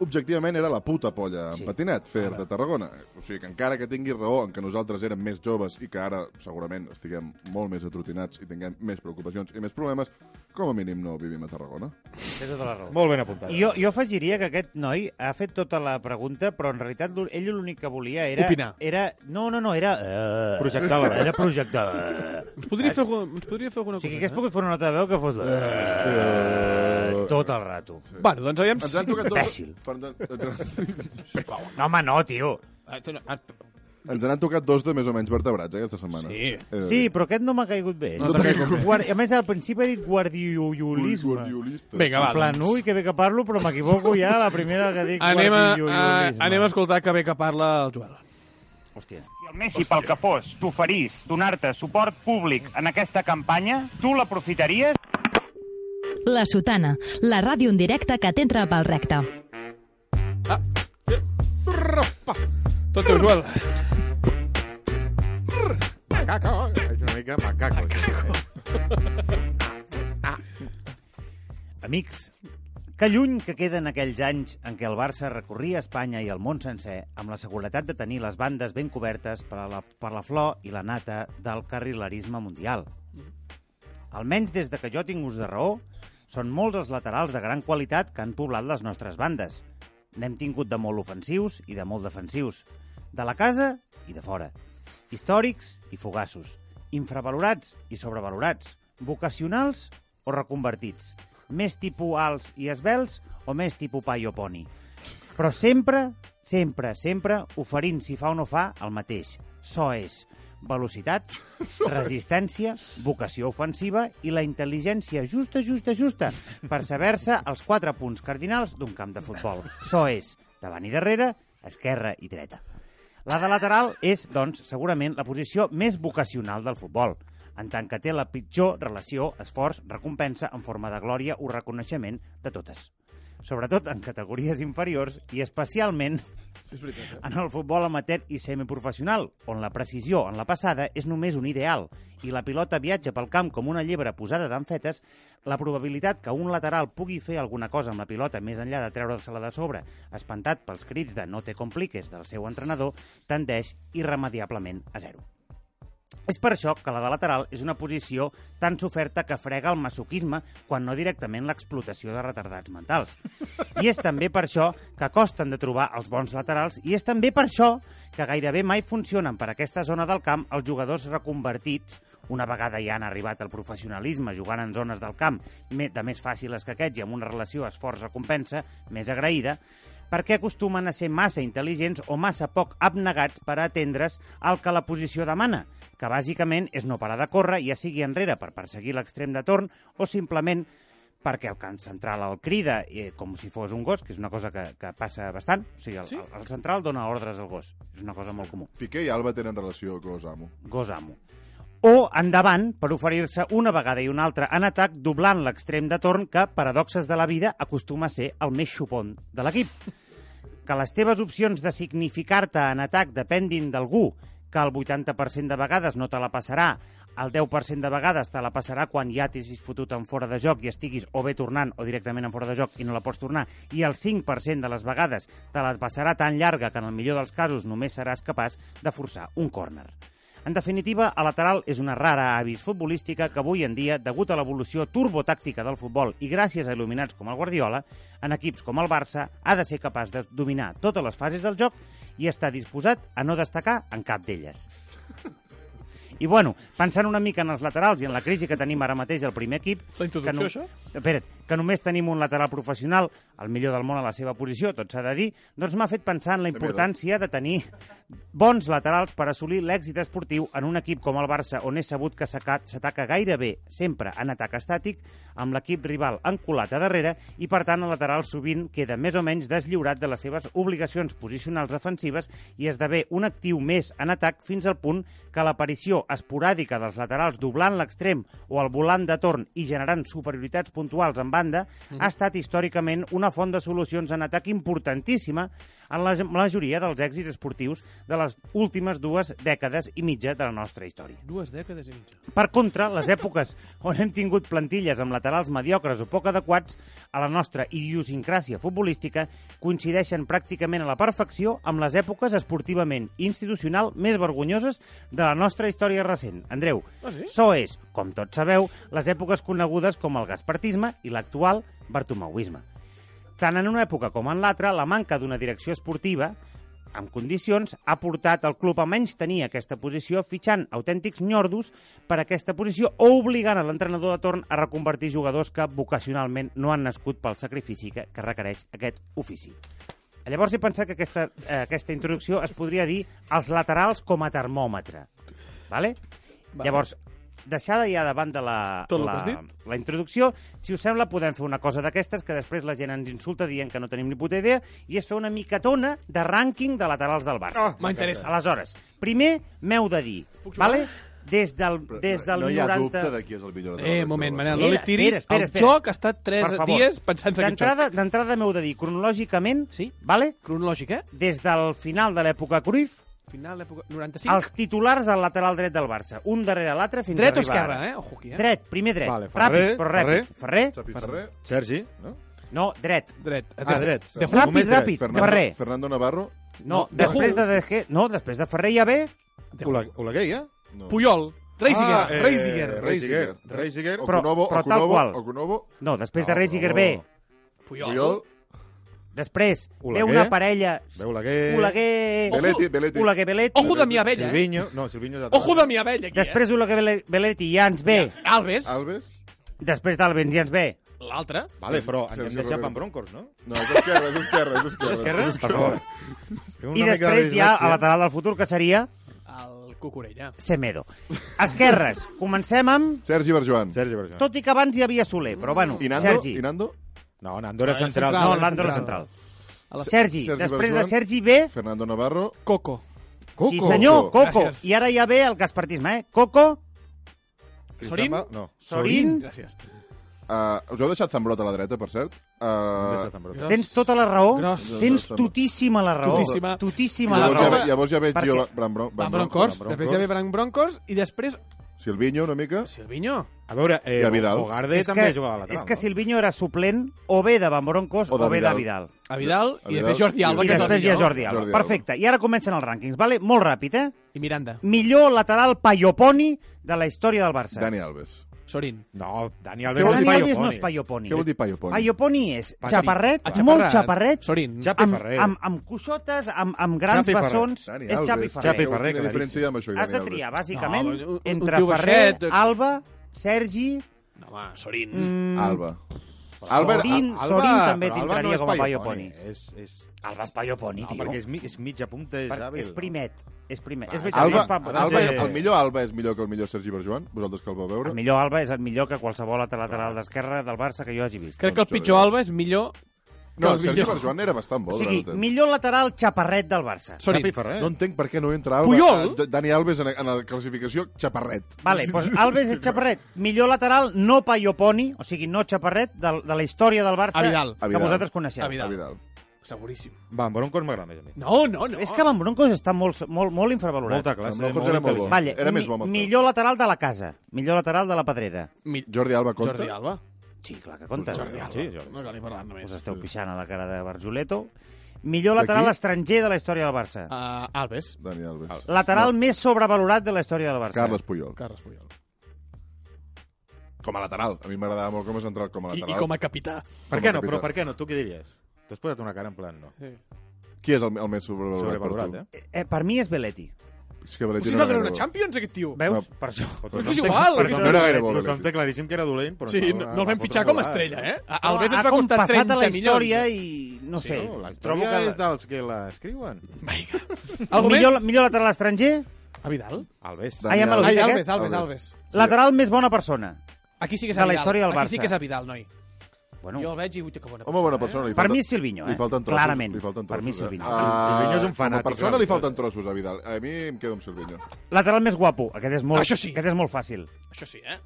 F: objectivament era la puta polla sí. en patinet, fer de Tarragona. O sigui que encara que tinguis raó en que nosaltres érem més joves i que ara segurament estiguem molt més atrotinats i tinguem més preocupacions i més problemes, com a mínim no vivim a Tarragona.
G: Té tota la raó.
J: Molt ben apuntat.
G: Jo, jo afegiria que aquest noi ha fet tota la pregunta, però en realitat l'ú- ell l'únic que volia era...
I: Opinar.
G: Era, no, no, no, era... Uh,
J: Projectar la veu.
G: Era projectar... eh.
I: Ens podria fer, alguna- ens podria fer alguna
G: O
I: cosa.
G: sigui,
I: eh?
G: que hagués pogut fer una nota de veu que fos... Uh, tot el rato.
I: eh? Bueno, doncs aviam...
F: Ens han tocat dos...
G: Imbècil.
F: Perdó, ens han- [laughs]
G: No, home, no, tio.
F: Ens n'han tocat dos de més o menys vertebrats eh, aquesta setmana.
I: Sí.
F: Eh, He de dir.
G: Sí, però aquest no m'ha caigut bé.
F: No t'ha caigut bé.
G: Guar- A més, al principi he dit guardiolisme.
F: Guardiolistes.
I: Vinga, va,
G: En plan,
I: doncs.
G: ui, que bé que parlo, però m'equivoco ja a la primera que dic
I: Anem a, a,
G: guardiolisme.
I: anem a escoltar que bé que parla el Joel.
G: Hòstia.
M: Si el Messi, pel que fos, t'oferís donar-te suport públic en aquesta campanya, tu l'aprofitaries?
C: La Sotana, la ràdio en directe que t'entra pel recte.
I: Tot teu, Joel.
J: Macaco. És una mica macaco. macaco.
G: Amics, que lluny que queden aquells anys en què el Barça recorria Espanya i el món sencer amb la seguretat de tenir les bandes ben cobertes per, a la, per la flor i la nata del carrilerisme mundial. Almenys des de que jo tinc ús de raó, són molts els laterals de gran qualitat que han poblat les nostres bandes. N'hem tingut de molt ofensius i de molt defensius, de la casa i de fora. Històrics i fugassos, infravalorats i sobrevalorats, vocacionals o reconvertits, més tipus alts i esbels o més tipus paio poni. Però sempre, sempre, sempre oferint, si fa o no fa, el mateix. So és velocitat, resistència, vocació ofensiva i la intel·ligència justa, justa, justa per saber-se els quatre punts cardinals d'un camp de futbol. So és davant i darrere, esquerra i dreta. La de lateral és, doncs, segurament la posició més vocacional del futbol, en tant que té la pitjor relació esforç-recompensa en forma de glòria o reconeixement de totes. Sobretot en categories inferiors i especialment
I: És veritat,
G: en el futbol amateur i semiprofessional, on la precisió en la passada és només un ideal i la pilota viatja pel camp com una llebre posada d'amfetes, la probabilitat que un lateral pugui fer alguna cosa amb la pilota més enllà de treure-se-la de sobre, espantat pels crits de no te compliques del seu entrenador, tendeix irremediablement a zero. És per això que la de lateral és una posició tan soferta que frega el masoquisme quan no directament l'explotació de retardats mentals. I és també per això que costen de trobar els bons laterals i és també per això que gairebé mai funcionen per aquesta zona del camp els jugadors reconvertits una vegada ja han arribat al professionalisme jugant en zones del camp me- de més fàcil escaqueig i amb una relació esforç-recompensa més agraïda, perquè acostumen a ser massa intel·ligents o massa poc abnegats per atendre's al que la posició demana, que bàsicament és no parar de córrer, ja sigui enrere per perseguir l'extrem de torn o simplement perquè el can central el crida eh, com si fos un gos, que és una cosa que, que passa bastant. O sigui, el,
F: Sí?
G: el, el central dona ordres al gos. És una cosa molt comú.
F: Piqué i Alba tenen relació, que os amo.
G: Gos amo. O endavant per oferir-se una vegada i una altra en atac doblant l'extrem de torn que, paradoxes de la vida, acostuma a ser el més xupon de l'equip. Que les teves opcions de significar-te en atac dependin d'algú que el 80% de vegades no te la passarà, el 10% de vegades te la passarà quan ja t'hagis fotut en fora de joc i estiguis o bé tornant o directament en fora de joc i no la pots tornar, i el 5% de les vegades te la passarà tan llarga que en el millor dels casos només seràs capaç de forçar un córner. En definitiva, a lateral és una rara avis futbolística que avui en dia, degut a l'evolució turbotàctica del futbol i gràcies a il·luminats com el Guardiola, en equips com el Barça ha de ser capaç de dominar totes les fases del joc i està disposat a no destacar en cap d'elles. I bueno, pensant una mica en els laterals i en la crisi que tenim ara mateix al primer equip... La
I: introducció,
G: això? Espera't, que només tenim un lateral professional, el millor del món a la seva posició, tot s'ha de dir, doncs m'ha fet pensar en la importància de tenir bons laterals per assolir l'èxit esportiu en un equip com el Barça, on és sabut que s'aca- s'ataca gairebé sempre en atac estàtic, amb l'equip rival encolat a darrere, i per tant el lateral sovint queda més o menys deslliurat de les seves obligacions posicionals defensives i esdevé un actiu més en atac fins al punt que l'aparició esporàdica dels laterals doblant l'extrem o el volant de torn i generant superioritats puntuals en banda
N: Mhm.
G: ha estat històricament una font de solucions en atac importantíssima en la majoria dels èxits esportius de les últimes dues dècades i mitja de la nostra història.
I: Dues dècades i mitja.
G: Per contra, les èpoques on hem tingut plantilles amb laterals mediocres o poc adequats a la nostra idiosincràsia futbolística coincideixen pràcticament a la perfecció amb les èpoques esportivament i institucional més vergonyoses de la nostra història recent. Andreu,
I: Ah, sí?
G: so és, com tots sabeu, les èpoques conegudes com el gaspartisme i l'actual bartomeuisme. Tant en una època com en l'altra, la manca d'una direcció esportiva amb condicions, ha portat el club a menys tenir aquesta posició fitxant autèntics nyordos per aquesta posició o obligant a l'entrenador de torn a reconvertir jugadors que vocacionalment no han nascut pel sacrifici que, que requereix aquest ofici. Llavors he pensat que aquesta, eh, aquesta introducció es podria dir els laterals com a termòmetre. Vale?
I: Vale.
G: Llavors, deixada ja davant de la,
I: Tot el que
G: la,
I: has dit.
G: la introducció, si us sembla, podem fer una cosa d'aquestes que després la gent ens insulta dient que no tenim ni puta idea, i és fer una micatona de rànquing de laterals del Barça.
I: Oh, m'interessa.
G: Aleshores, primer m'heu de dir,
I: jugar?
G: vale? des del, des del
F: no hi ha
G: 90...
F: dubte de tota qui és el millor lateral
I: Eh,
F: del
I: moment,
F: Barça.
I: Manel, no li tiris. El joc ha estat tres
G: Per favor.
I: dies pensant-se aquest
G: D'entrada- D'entrada m'heu de dir, cronològicament... Sí? Vale?
I: Cronològic, eh?
G: Des del final de l'època Cruyff,
I: Final d'època... 95.
G: els titulars al lateral dret del Barça, un darrere l'altre fins
I: Dret o
G: a arribar.
I: esquerra,
G: ara.
I: eh? Ojo aquí, eh?
G: Dret, primer dret.
J: Vale,
G: ràpid,
J: Ferrer,
G: però ràpid. Ferrer.
J: Ferrer, Sergi, no?
G: No, dret.
I: Dret.
J: Ah, dret.
G: Ràpid,
J: Només dret.
G: ràpid.
J: Fernando-
G: Ferrer.
F: Eh, Fernando Navarro?
G: No,
J: De
G: després de,
J: Hugo.
G: de, no, després de Ferrer ja ve...
J: Ola- Oleguer, ja? No.
I: Puyol. Reisiger.
J: Ah, eh,
I: Reisiger.
J: Reisiger. Reisiger.
G: Però,
J: Okunovo,
G: però tal
J: Okunovo,
G: qual.
J: Okunovo.
G: No, després
J: Ah, No,
F: Ah,
G: de Reisiger ve...
J: Okunovo. Puyol. Puyol.
G: Després
J: Oleguer.
G: ve una parella...
J: Ve Oleguer.
G: Oleguer...
J: Beletti, Beletti.
G: Oleguer Beletti.
I: Ojo de mi abella, eh?
J: Silvinho. No, Silvinho és de...
I: Ojo de mi abella, aquí,
G: Després Oleguer Bele- Beletti ja ens ve...
I: eh? Alves.
G: Després d'Albens ja ens ve...
I: L'altre.
J: Vale, però ens
F: Sergi
J: hem deixat
F: Romero.
J: en broncos, no?
F: No, és esquerra, és esquerra, és esquerra.
J: És esquerra?
F: És
J: Per favor. Tinc una
G: I
J: mica de
G: després hi ha
J: dislexia.
G: a lateral del futur, que seria
I: El Cucurella.
G: Semedo.
I: [laughs]
G: Esquerres, comencem amb...
F: Sergi Berjoan.
J: Sergi Berjoan.
G: Tot i que abans hi havia Soler, però bueno,
F: I Nando?
G: Sergi.
F: I Nando?
J: No, Nando
G: No, era
J: era central.
G: central, No, era Nando era central.
J: la-
G: Sergi,
J: Sergi
G: després de
J: Berjoan.
G: Sergi ve...
F: Fernando Navarro.
I: Coco.
J: Coco.
G: Sí, senyor, Coco.
I: Gràcies.
G: I ara ja ve el gaspartisme, eh? Coco,
I: Sorín?
F: No.
G: Sorín.
I: Gràcies.
F: Uh, us heu deixat Zambrot a la dreta, per cert? Uh,
J: deixat Zambrot.
G: tens tota la raó.
F: Gros.
G: Tens totíssima la raó.
I: Totíssima.
G: Totíssima la
F: Llavors, ja,
G: raó.
F: ve- llavors ja veig
G: Perquè-
F: jo Bram Bron-
I: Van
F: Bram
I: Broncos, després ja ve Van Broncos i després
F: Silvinho, una mica.
I: Silvinho.
J: A veure, eh,
F: I a Vidal.
J: Hogarde
G: És
J: també
G: que-
J: jugava a lateral.
G: És que Silvinho era suplent o bé de Van Broncos o,
J: de
G: bé de
J: Vidal.
G: Vidal.
I: A Vidal i després Jordi Alba,
G: I
I: que és el
G: després hi ha
I: millor.
G: Jordi Alba.
I: Jordi Alba.
G: Perfecte. I ara comencen els rànquings, vale? Molt ràpid, eh?
I: I Miranda.
G: Millor lateral paioponi de la història del Barça.
F: Dani Alves.
I: Sorín.
J: No, Dani
G: Alves, Dani Alves no és paioponi.
F: Què vol dir paioponi?
G: Paioponi és
F: Paioponi.
G: xaparret,
F: Ah,
G: xaparret, molt xaparret,
I: Sorín.
J: Xapi
G: amb,
J: Ferrer.
G: amb, amb cuixotes, amb, amb grans
J: Xapi Ferrer.
G: bessons,
J: Dani
G: és
J: Alves.
G: Xapi Ferrer.
J: Xapi Ferrer, doncs,
F: Quina diferència hi ha amb això? i
G: Has de
F: Dani
G: triar,
F: Alves?
G: bàsicament,
I: No, un- un
G: entre
I: tio
G: Ferrer,
J: eh,
I: baixet.
G: Alba, Sergi...
I: No, home, Sorín.
G: Mm.
F: Alba.
G: Alba, Sorín,
J: Alba-
G: Sorín també
J: però Alba
G: t'entraria
J: no és
G: com a
J: Paioponi.
G: paioponi.
J: És, és...
G: Alba és paioponi,
J: no,
G: tio.
J: perquè és, mi, és mitja punta, és
G: Per-
J: hàbil.
G: és primet. És primet.
J: Va,
G: és veritat,
F: Alba,
G: és pa-
F: Alba, el millor Alba és millor que el millor Sergi Berjoan, vosaltres que el vau veure.
G: El millor Alba és el millor que qualsevol altre lateral d'esquerra del Barça que jo hagi vist.
I: Crec que el pitjor Alba és millor que
F: No,
I: el
F: el Sergi
I: millor.
F: Berjoan era bastant bo.
G: O sigui,
F: durant el temps.
G: millor lateral xaparret del Barça.
I: Sorin. Xapi Ferrer.
F: No entenc per què no entra Alba.
G: Puyol?
F: eh, Dani Alves en, en la classificació, xaparret.
G: Vale, doncs Alves és xaparret. Millor lateral no paioponi, o sigui, no xaparret, de, de la història del Barça
I: A Vidal.
G: que vosaltres coneixeu.
I: A Vidal. Seguríssim.
J: Va, en Broncos m'agrada més a mi.
I: No, no, no.
G: És que Van Broncos està molt, molt, molt infravalorat.
J: Molta classe, Van Broncos molt era molt intel·ligent. bo.
G: Vale,
J: Era
G: mi,
J: més bo, Moscou.
G: Millor lateral de la casa. Millor lateral de la pedrera.
I: Mi...
F: Jordi Alba compta?
I: Jordi Alba.
G: Sí, clar que compta.
I: Jordi Alba.
G: Sí,
I: No cal ni parlar només.
G: Us esteu pixant a la cara de Barjuleto. Millor lateral
I: D'aquí?
G: estranger de la història del Barça.
I: Uh, Alves.
F: Dani Alves.
G: Lateral més sobrevalorat de la història del Barça.
F: Carles Puyol.
I: Carles Puyol.
F: Com a lateral. A mi m'agradava molt com a central, com a
I: I,
F: lateral.
I: I com a capità.
J: Per què no? Però per què no? Tu què diries? T'has posat una cara en plan no.
I: Sí.
F: Qui és el, el més sobrevalorat,
J: Sobrevalorat,
F: per tu?
G: Eh, per mi és Belletti.
F: És que Valenti
I: Si no gran una Champions, aquest tio.
G: Veus? Per això.
I: Però és que és igual.
J: Perquè
I: aquest
J: no
I: tio.
J: era gaire bo. Tothom té claríssim que era dolent, però
I: Sí, no, no el vam fitxar com a estrella, eh? Alves ens
G: ha
I: va costar
G: compassat
I: 30
G: a la història
I: milions.
G: i no
J: Sí,
G: sé.
J: no, la història
G: trobo que
J: és dels que l'escriuen.
I: Algú
G: millor,
I: més?
G: millor lateral estranger?
I: A Vidal?
J: Alves.
G: Ah, ja me l'ho
I: Ai,
G: dit,
I: Alves,
G: aquest?
I: Alves, Alves.
G: Lateral més bona persona.
I: Aquí sí que és
G: De
I: a
G: la
I: Vidal.
G: història
I: Aquí
G: del
I: sí
G: Barça.
I: que és a Vidal, noi.
G: Bueno.
I: Jo el veig i ui, que bona persona.
F: Home, bona persona. Li
G: Per
F: falten-
G: mi és Silvinho, eh?
F: Li falten trossos.
G: Clarament.
F: Li falten
G: Per
F: trossos,
G: mi és Silvinho.
F: Eh?
G: Sil- Silvinho és un fanàtic,
F: Com a persona
G: clar.
F: li falten trossos, a Vidal. A mi em quedo amb Silvinho.
G: Lateral més guapo. Aquest és molt,
F: Això sí.
G: Aquest és molt fàcil.
I: Això sí, eh?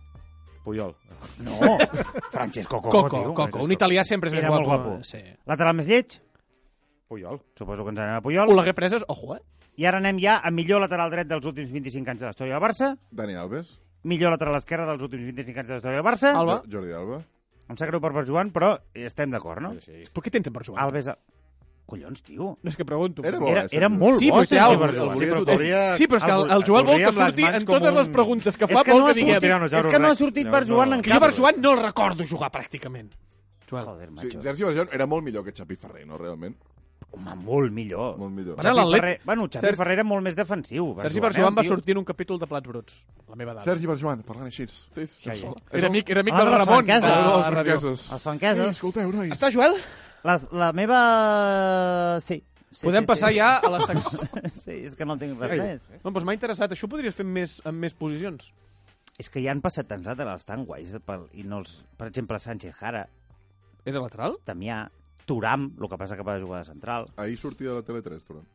J: Puyol.
I: [laughs]
G: No, Francesco Coco,
I: Coco,
G: tio.
I: Coco.
G: Francesco.
I: Un italià sempre és més
G: Era molt
I: guapo.
G: guapo.
I: Sí.
G: Lateral més lleig?
J: Puyol.
G: Suposo que ens anem a Puyol.
I: Oleguer Preses, ojo, eh?
G: I ara anem ja a millor lateral dret dels últims 25 anys de la història del Barça.
F: Dani Alves.
G: Millor lateral esquerra dels últims 25 anys de la història del Barça.
I: Alba.
F: Jo- Jordi Alba.
G: Em sap greu per per Joan, però estem d'acord, no?
J: Sí, sí.
I: Però què tens en Barcelona?
G: Alves... A... Collons, tio.
I: No és que pregunto.
G: Era bo, Era- eh, era Sergi. molt
I: sí,
G: bo,
I: però té
G: Sergi
I: algo.
G: Barcelona.
I: Sí,
G: Sí,
I: però
G: però t'hauria-
I: sí, però és que el, el Joel vol
G: t'hauria
I: que
G: amb les
I: surti
G: mans
I: en
G: com
I: totes les
G: un-
I: preguntes que
G: És
I: fa,
G: que
I: vol
G: no
I: que
G: ha
I: diguem...
G: sortit- Tiranosaurus és que no ha Rex. sortit per Tiranosaurus Joan Rex.
I: Que Jo per Joan no el recordo jugar pràcticament. Joel.
G: Joder,
F: Sí, Sergi Barjon era molt millor que Xapi Ferrer, no, realment?
G: Home, molt millor.
F: Molt millor.
I: Ara l'Atlètic-
G: Ferrer, bueno, Xavi
I: Sergi-
G: Ferrer era molt més defensiu.
I: Sergi
G: Barjoan,
I: Barjoan
G: eh,
I: va
G: tio.
I: sortir en un capítol de Plats Bruts, la meva dada.
F: Sergi Barjoan, parlant així. Sí, sí,
G: Ja, ja.
I: Era amic, era amic
G: Ah,
I: del
G: de les
I: Ramon. de
G: franqueses.
I: la
G: Les
I: ràdio.
F: franqueses.
G: Les franqueses.
F: Ei, escolteu, nois.
I: Està Joel?
G: La, la meva... Sí. sí
I: Podem
G: sí,
I: passar
G: sí. [laughs]
I: ja a la secció.
G: sí, és que no tinc res més.
I: No, doncs m'ha interessat. Això ho podries fer amb més, amb més posicions.
G: És que ja han passat tants laterals tan guais pel, i no els... Per exemple, Sánchez Jara.
I: Era lateral?
G: Damià. Turam, el que passa que va jugar de central.
F: Ahir sortia de la Tele3, Turan.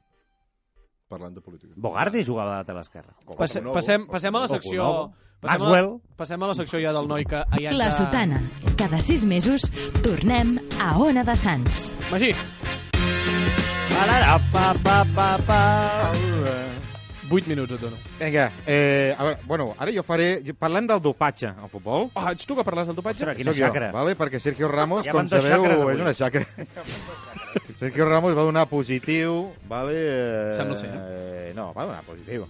F: Parlant de política.
G: Bogardi jugava de lateral esquerra.
I: Passe, passem, passem a la secció... Passem a,
G: Maxwell.
I: la- passem a la secció ja del noi que ja ens
C: La
I: ha-
C: Sotana. Cada sis mesos tornem a Ona de Sants.
I: Magí.
G: Pararà, pa, pa, pa, pa.
I: 8 minuts et dono.
J: Vinga, eh, a veure, bueno, ara jo faré... Jo, parlem del dopatge al futbol.
I: Ah, ets tu que parles del dopatge?
G: Ostres, quina xacra.
J: vale? Perquè Sergio Ramos,
G: Ja
J: com
G: van dos
J: sabeu,
G: xacres avui.
J: és una xacra. Sergio Ramos va donar positiu, vale? Eh,
I: Sembla ser,
J: eh? No, va donar positiu.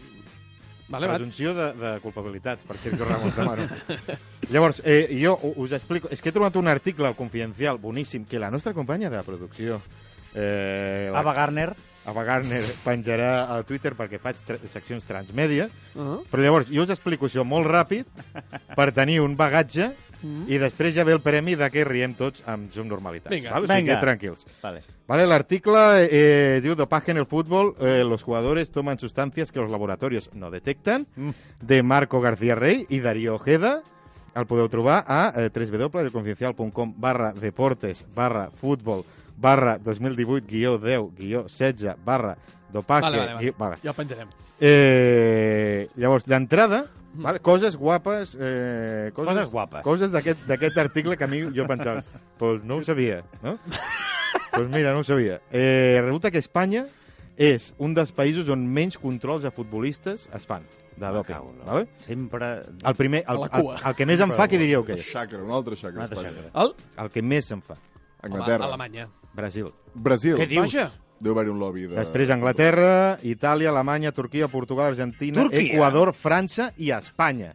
I: Vale, va.
J: Presumpció de, de culpabilitat per Sergio Ramos
G: [laughs]
J: Tamaro. Llavors, eh, jo u- us explico... És que he trobat un article al Confidencial boníssim que la nostra companya de producció... Eh, la-
G: Ava Garner.
J: Ava Garner penjarà a Twitter perquè faig tra seccions transmèdia.
I: Uh
G: Uh-huh.
I: -huh.
J: Però llavors, jo us explico això molt ràpid per tenir un bagatge
G: Mm-hmm.
I: Mhm.
J: i després ja ve el premi de que riem tots amb Zoom normalitats.
I: Vinga.
J: val? O sigui,
G: Vinga.
J: que tranquils.
G: Vale.
J: Vale, el artículo eh, diu, dopaje en el fútbol, eh, los jugadores toman sustancias que los laboratorios no detectan, de Marco García Rey y Darío Ojeda. Al podeu trobar a eh, www.elconfidencial.com barra deportes barra futbol barra 2018 guió 10 guió 16 barra dopaje.
I: Vale, vale, vale.
J: guió- vale.
I: Ja ho penjarem.
J: Eh, llavors, d'entrada,
I: Mm.
J: vale, coses guapes... Eh, coses,
G: Coses guapes.
J: Coses d'aquest d'aquest article que a mi jo pensava, doncs no ho sabia, no? doncs mira, no ho sabia. Eh, resulta que Espanya és un dels països on menys controls a futbolistes es fan de doping. Vale?
G: Sempre...
J: El primer, el, el, el, que més em fa, què diríeu que és?
F: Xacra, un altre xacra.
G: Un altre
F: Espanya.
G: xacra.
I: El?
J: El que més em fa.
F: Anglaterra.
I: Home, Alemanya.
J: Brasil.
F: Eh, Brasil.
G: Què dius? Vaja.
F: Deu haver-hi un lobby de...
J: Després
F: [laughs]
J: Anglaterra, Itàlia, Alemanya, Turquia, Portugal, Argentina,
G: Turquia.
J: Equador, França i Espanya.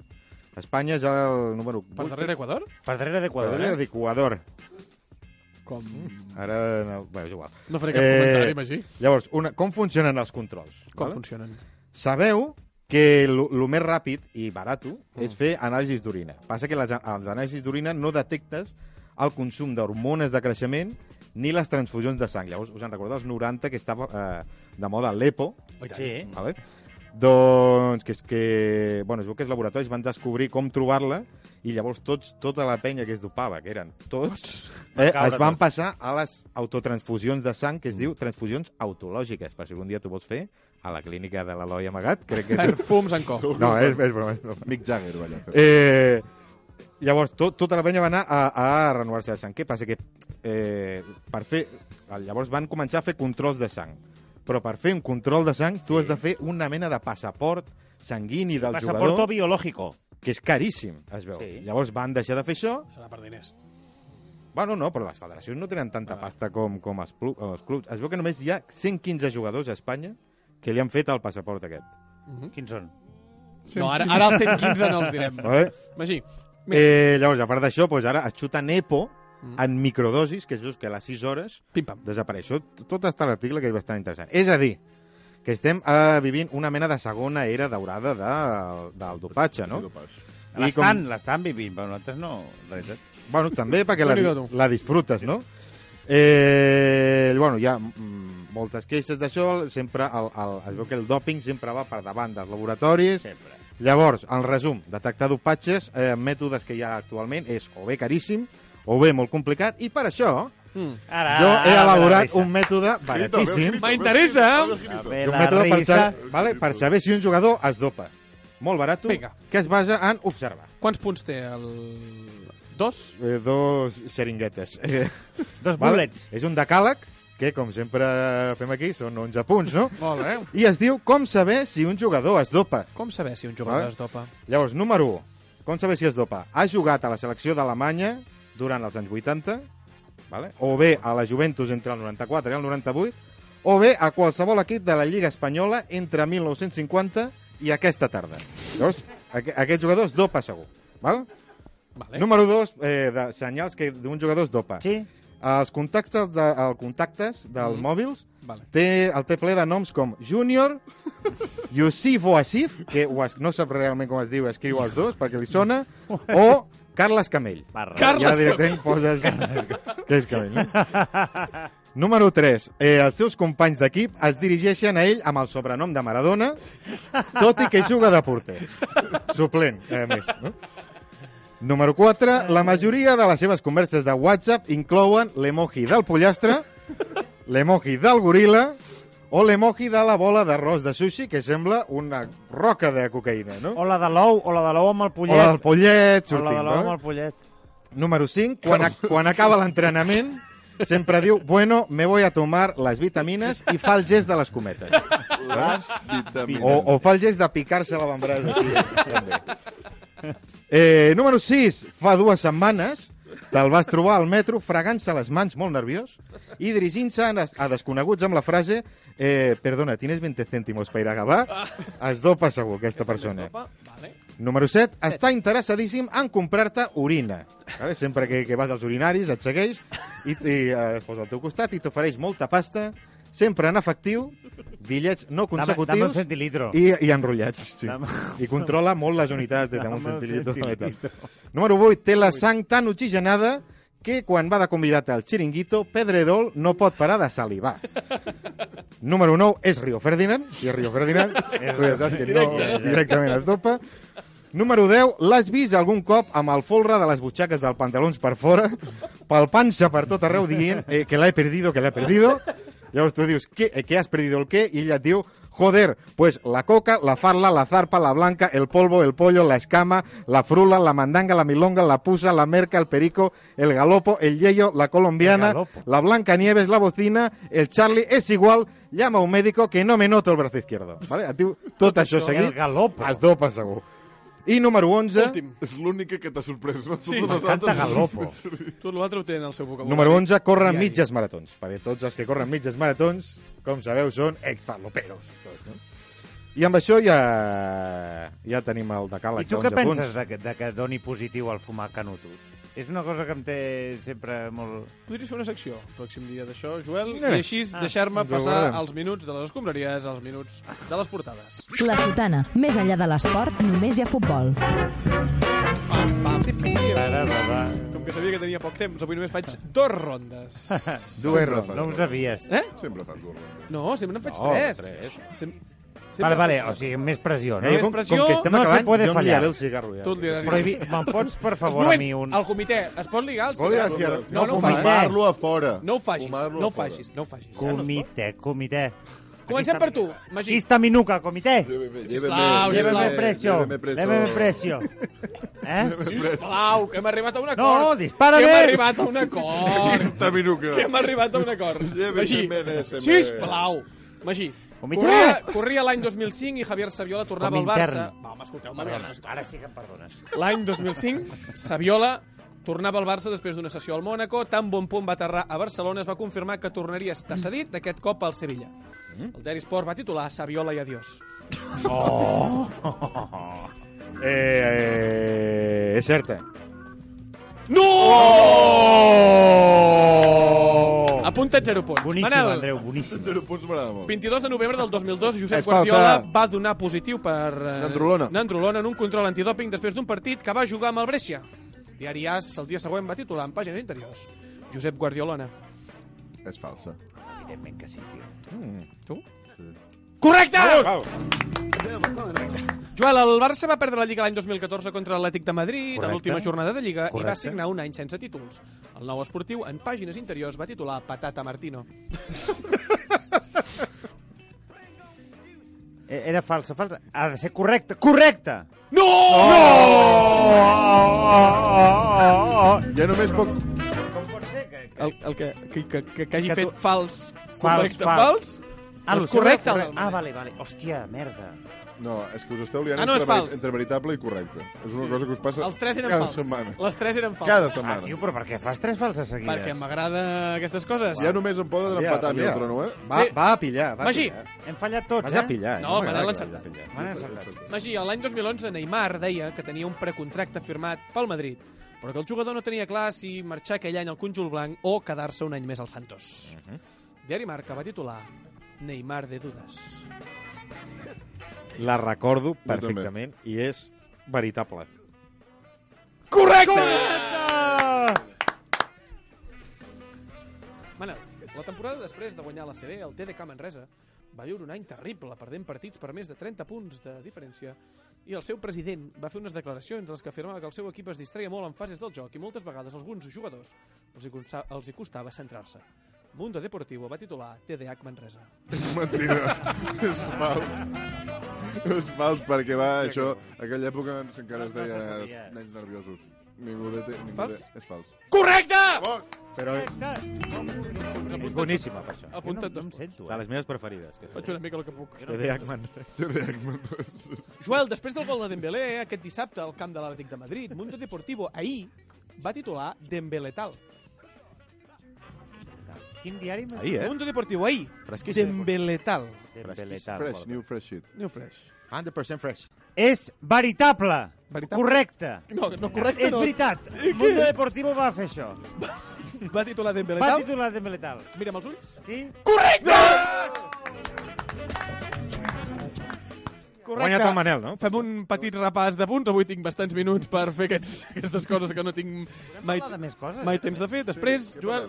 J: Espanya és el número 8.
I: Per darrere Equador?
G: Per darrere
J: Equador,
G: d'Equador,
J: Equador,
G: eh?
J: d'Equador.
I: Com?
J: Ara, no, bé, és igual. Eh,
I: No faré cap comentari, Magí.
J: Llavors, una, com funcionen els controls?
I: Com funcionen?
J: Sabeu que el més ràpid i barat és fer anàlisis d'orina. Passa que les, als anàlisis d'orina no detectes el consum d'hormones de creixement ni les transfusions de sang. Llavors, us en recordeu els 90 que estava eh, de moda l'EPO?
G: Sí.
J: Vale? Doncs que, és que bueno, es veu que els laboratoris van descobrir com trobar-la i llavors tots, tota la penya que es dopava, que eren tots, eh,
G: caure
J: es van
G: tots.
J: passar a les autotransfusions de sang, que es diu transfusions autològiques, per si un dia t'ho vols fer a la clínica de l'Eloi Amagat, crec que...
I: Perfums en cop.
J: No, és, és broma, és broma.
F: Mick Jagger, vaja.
J: Eh, Llavors, tot, tota la penya va anar a, a renovar-se de sang. Què passa? Que eh, per fer... Llavors van començar a fer controls de sang. Però per fer un control de sang, tu has de fer una mena de passaport sanguini del
G: Passaporto
J: jugador,
G: biológico.
J: que és caríssim, es veu.
G: Sí.
J: Llavors van deixar de fer això.
I: Serà per diners.
J: Bueno, no, però les federacions no tenen tanta pasta com, com els, plu- els clubs. Es veu que només hi ha 115 jugadors a Espanya que li han fet el passaport aquest.
G: Quins són?
I: No, ara, ara els 115 no els direm.
J: Vale.
I: Magí.
J: Eh, llavors, a part d'això, doncs ara es xuten EPO en microdosis, que es veus que a les 6 hores desapareix. Això t- tot està a l'article, que és bastant interessant. És a dir, que estem eh, vivint una mena de segona era daurada de, del dopatge, no? I
G: L'estan, l'estan vivint, però nosaltres no. Res, eh?
J: Bueno, també perquè la,
G: Déu-n'hi-do,
J: la disfrutes, no? Eh, bueno, hi ha mm, moltes queixes d'això, sempre el, el, es veu que el dòping sempre va per davant dels laboratoris.
G: Sempre.
J: Llavors, en resum, detectar dopatges, eh, mètodes que hi ha actualment és o bé caríssim o bé molt complicat, i per això
G: Ara,
J: jo he
G: ara
J: elaborat
G: me la
J: un mètode baratíssim.
I: M'interessa.
J: És un mètode per, saber, vale, per saber si un jugador es dopa. Molt barat,
I: Vinga.
J: que es basa en observar.
I: Quants punts té el... Dos?
J: Eh, dos xeringuetes. Eh, [laughs]
G: Dos
J: vale?
G: bullets.
J: És un decàleg, que com sempre fem aquí, són 11 punts, no?
I: Molt bé.
J: I es diu com saber si un jugador es dopa.
I: Com saber si un jugador
J: Vale.
I: es dopa?
J: Llavors, número 1. Com saber si es dopa? Ha jugat a la selecció d'Alemanya durant els anys 80, vale? o bé a la Juventus entre el 94 i el 98, o bé a qualsevol equip de la Lliga Espanyola entre 1950 i aquesta tarda. Llavors, aqu aquest jugador es dopa segur. Val? Vale. Número 2, eh, de senyals que d'un jugador es dopa.
G: Sí.
J: Els contactes, de, el contactes del
I: Mhm.
J: mm. mòbils
I: Vale.
J: té, el té ple de noms com Junior, Yusif o Asif, que ho es, no sap realment com es diu, escriu els dos perquè li sona, o Carles Camell. Barra.
G: Carles
J: ja directament poses... que és Camell, no? [laughs] Número 3. Eh, els seus companys d'equip es dirigeixen a ell amb el sobrenom de Maradona, tot i que juga de porter. Suplent, eh, a més. No? Número 4. La majoria de les seves converses de WhatsApp inclouen l'emoji del pollastre, l'emoji del goril·la o l'emoji de la bola d'arròs de sushi, que sembla una roca de cocaïna, no?
G: O la de l'ou, o la de l'ou amb el pollet.
J: O la del pollet
G: O la
J: sortint,
G: de l'ou
J: no?
G: amb el pollet.
J: Número 5, quan, a, quan acaba l'entrenament, sempre diu, bueno, me voy a tomar les vitamines i fa el gest de les cometes.
F: Les vitamines.
J: O, o fa el gest de picar-se la l'avantbraç aquí, també. Eh, número 6, fa dues setmanes te'l vas trobar al metro fregant-se les mans molt nerviós i dirigint-se a, a desconeguts amb la frase eh, perdona, tienes 20 cèntimos per acabar? Es dopa segur aquesta persona.
I: Vale.
J: Número 7, està interessadíssim en comprar-te orina. Vale? Sempre que, que vas als urinaris et segueix i, i eh, es posa al teu costat i t'ofereix molta pasta, sempre en efectiu, bitllets
G: Dame- dame
J: no
G: un
J: consecutius
G: centilitro.
J: i, i enrotllats. Sí.
G: Dame-
J: I controla molt les unitats de
G: Dame
J: tamon
G: un
J: centilitro.
G: centilitro.
J: Número 8, té la sang tan oxigenada que quan va de convidat al xiringuito, Pedrerol no pot parar de salivar. Número 9 és Rio Ferdinand. I Rio Ferdinand, tu ja saps que no,
F: Directe.
J: directament es dopa. Número 10, l'has vist algun cop amb el folre de les butxaques dels pantalons per fora, palpant-se per tot arreu dient eh, que l'he perdido, que l'he perdido. Llavors tu dius, ¿qué, eh, ¿qué has perdido el qué? I ella et diu, joder, pues la coca, la farla, la zarpa, la blanca, el polvo, el pollo, la escama, la frula, la mandanga, la milonga, la pusa, la merca, el perico, el galopo, el yeyo, la colombiana,
G: galopo.
J: la blanca nieves, la bocina, el Charlie, es igual, llama a un médico que no me noto el brazo izquierdo. ¿vale? Et diu tot, tot això
G: això.
J: seguit.
G: El galopo.
J: Es dopa segur. I número 11, Últim.
F: És l'única que t'ha sorprès. no?
I: Sí.
F: Totes les
J: M'encanta
F: altres-
J: Galopo.
I: Tot l'altre ho té en el seu vocabulari.
J: número 11, corren
I: Diari.
J: mitges maratons. Perquè tots els que corren mitges maratons, com sabeu, són exfaloperos. Tots, no? I amb això ja, ja tenim el decàleg.
G: I tu
J: d'11
G: què penses
J: punts. Eh,
G: de, que- de que doni positiu al fumar canutos? És una cosa que em té sempre molt...
I: Podries fer una secció el pròxim dia d'això, Joel,
G: Mira.
I: i així
G: Ah.
I: deixar-me
G: Ens ho
I: passar
G: guardem.
I: els minuts de les escombraries, els minuts de les portades.
C: La sotana. Més enllà de l'esport, només hi ha futbol.
I: Com que sabia que tenia poc temps, avui només faig dos rondes.
G: [laughs] Dues rondes. No ho sabies.
I: Eh?
F: Sempre fas dues rondes.
I: No, sempre en faig
G: No,
I: tres.
G: tres.
I: Sem
G: Vale, vale, o sigui, més pressió, no?
I: Eh, com- com que estem
G: no
I: acabant,
G: se puede
I: jo em
G: fallar.
I: liaré el cigarro ja. Tu et liaràs.
G: Prohibi... Me'n pots, per favor, a
I: moment,
G: mi un...
I: El comitè, es pot ligar al
F: Vol ligar al
I: cigarro?
F: cigarro,
I: No,
F: sí.
I: no ho
F: Fumar-lo
I: facis.
F: a fora.
I: No ho facis,
F: Fumar-lo a
I: no ho
F: fora.
I: facis, no ho facis.
G: Comitè, comitè.
I: Comencem per tu, Magí.
G: Ista minuca, comité.
I: Sisplau,
G: Lléveme
I: sisplau.
G: precio.
I: Lléveme preso.
G: Lléveme precio. Eh?
I: Sisplau, que hem arribat a un acord.
G: No, dispara
I: Que
G: bé.
I: hem arribat a un acord.
F: Esta minuca.
I: Que hem arribat a un acord.
F: [laughs] Lleve semen, semen.
I: sisplau. Magí,
F: Comitè.
I: corria, corria l'any 2005 i Javier Saviola tornava
G: Com
I: al Barça.
G: intern.
I: Va, home, escolteu-me.
G: Perdona,
I: una estona.
G: ara sí que em perdones.
I: L'any 2005, Saviola tornava al Barça després d'una sessió al Mónaco. Tan bon punt va aterrar a Barcelona, es va confirmar que tornaria a estar cedit d'aquest cop al Sevilla.
G: Mm.
I: El Daily Sport va titular Saviola i adiós.
J: Oh. Eh, eh, és certa.
I: No!
J: Oh!
I: Apunta't 0 punts.
J: Boníssim,
I: Manel,
J: Andreu,
G: boníssim.
F: 0 punts m'agrada molt.
I: 22 de novembre del 2002, Josep
F: És
I: Guardiola
F: falsa.
I: va donar positiu per... Eh,
F: Nandrolona.
I: Nandrolona en un control antidòping després d'un partit que va jugar amb el Brescia. Diari As, el dia següent, va titular en pàgines interiors. Josep Guardiolona.
F: És falsa.
G: Evidentment que sí, tio.
F: Mm.
I: Tu? Correcte!
F: Vamos!
I: Joel, el Barça va perdre la Lliga l'any 2014 contra l'Atlètic de Madrid a
G: Correcte.
I: l'última jornada de Lliga i va
G: Correcte.
I: signar un any sense títols. El nou esportiu, en pàgines interiors, va titular Patata Martino.
G: Eh, Era falsa, falsa. Ha de ser correcta. Correcta!
I: No!
G: No!
J: Oh,
F: Ja només puc...
I: El, el que, que, que, que, que hagi
G: Que
I: que
G: tu-
I: fet fals,
G: Fals,
I: correcte,
G: fals.
I: fals,
G: Ah,
I: no
G: lo
I: és
G: seu era
I: correcte.
G: correcte.
I: el-
G: Ah, vale, vale. Hòstia, merda.
F: No, és que us esteu liant
I: Ah, no, és
F: entre,
I: fals.
F: veri- entre veritable i correcte. És una
I: Sí.
F: cosa que us passa
I: Els tres eren
F: cada
I: fals.
F: setmana.
I: Les tres eren fals.
F: Cada setmana.
G: Ah, tio, però per què fas tres falses seguides?
I: Perquè m'agrada aquestes coses.
F: Ja només em poden
G: Canvia,
F: empatar a mi
G: canvia.
F: el trono, eh?
I: Va- Bé,
J: va a pillar, va a
I: Magí.
J: pillar.
G: Hem fallat tots,
J: Vaig a
G: eh?
J: pillar,
I: No,
J: no
I: Manel
J: m'agrada,
I: l'encertat.
J: vaig a pillar.
G: Manel l'encertat.
I: Magí, a l'any 2011, Neymar deia que tenia un precontracte firmat pel Madrid, però que el jugador no tenia clar si marxar aquell any al conjunt blanc o quedar-se un any més al Santos. Diari Marca va titular Neymar de dudes.
J: La recordo perfectament i és veritable.
I: Correcte! Manel, la temporada després de guanyar la CB, el TDK Manresa va viure un any terrible, perdent partits per més de 30 punts de diferència, i el seu president va fer unes declaracions en les que afirmava que el seu equip es distreia molt en fases del joc i moltes vegades a alguns jugadors els hi, consta- els hi costava centrar-se. Mundo Deportivo va titular TDH Manresa.
F: És mentida. és fals. És fals perquè va, això, aquella època doncs, encara es deia nens nerviosos. Ningú de... Ningú
I: Fals?
F: De... És fals.
I: Correcte!
J: Però és boníssima, per això.
I: Apunta't dos punts.
J: eh? De les meves preferides. Que
I: Faig una mica el que puc.
J: TD Ackman.
F: TD Ackman.
I: Joel, després del gol de Dembélé, aquest dissabte al camp de l'Atlètic de Madrid, Mundo Deportivo ahir va titular Dembeletal.
G: Quin diari? m'has
J: Ahir,
G: dit?
J: eh?
I: Mundo Deportivo ahir.
J: Fresquíssim.
I: Dembeletal.
J: Dembeletal.
F: Fresh, new fresh shit.
I: New fresh.
J: 100% fresh.
G: És veritable.
I: Veritable?
G: Correcte.
I: No, no, correcte
G: És
I: no.
G: veritat.
I: I què?
G: Mundo Deportivo va fer això.
I: Va titular Dembélé
G: Va
I: tal?
G: titular Dembélé tal.
I: Mira'm els ulls.
G: Sí?
I: Correcte! Correcte.
J: Guanyat el Manel, no?
I: Fem un petit repàs de punts. Avui tinc bastants minuts per fer aquests, aquestes coses que no tinc mai,
G: parlar de més coses?
I: mai temps de fer. Després,
G: Sí, què
I: Joel,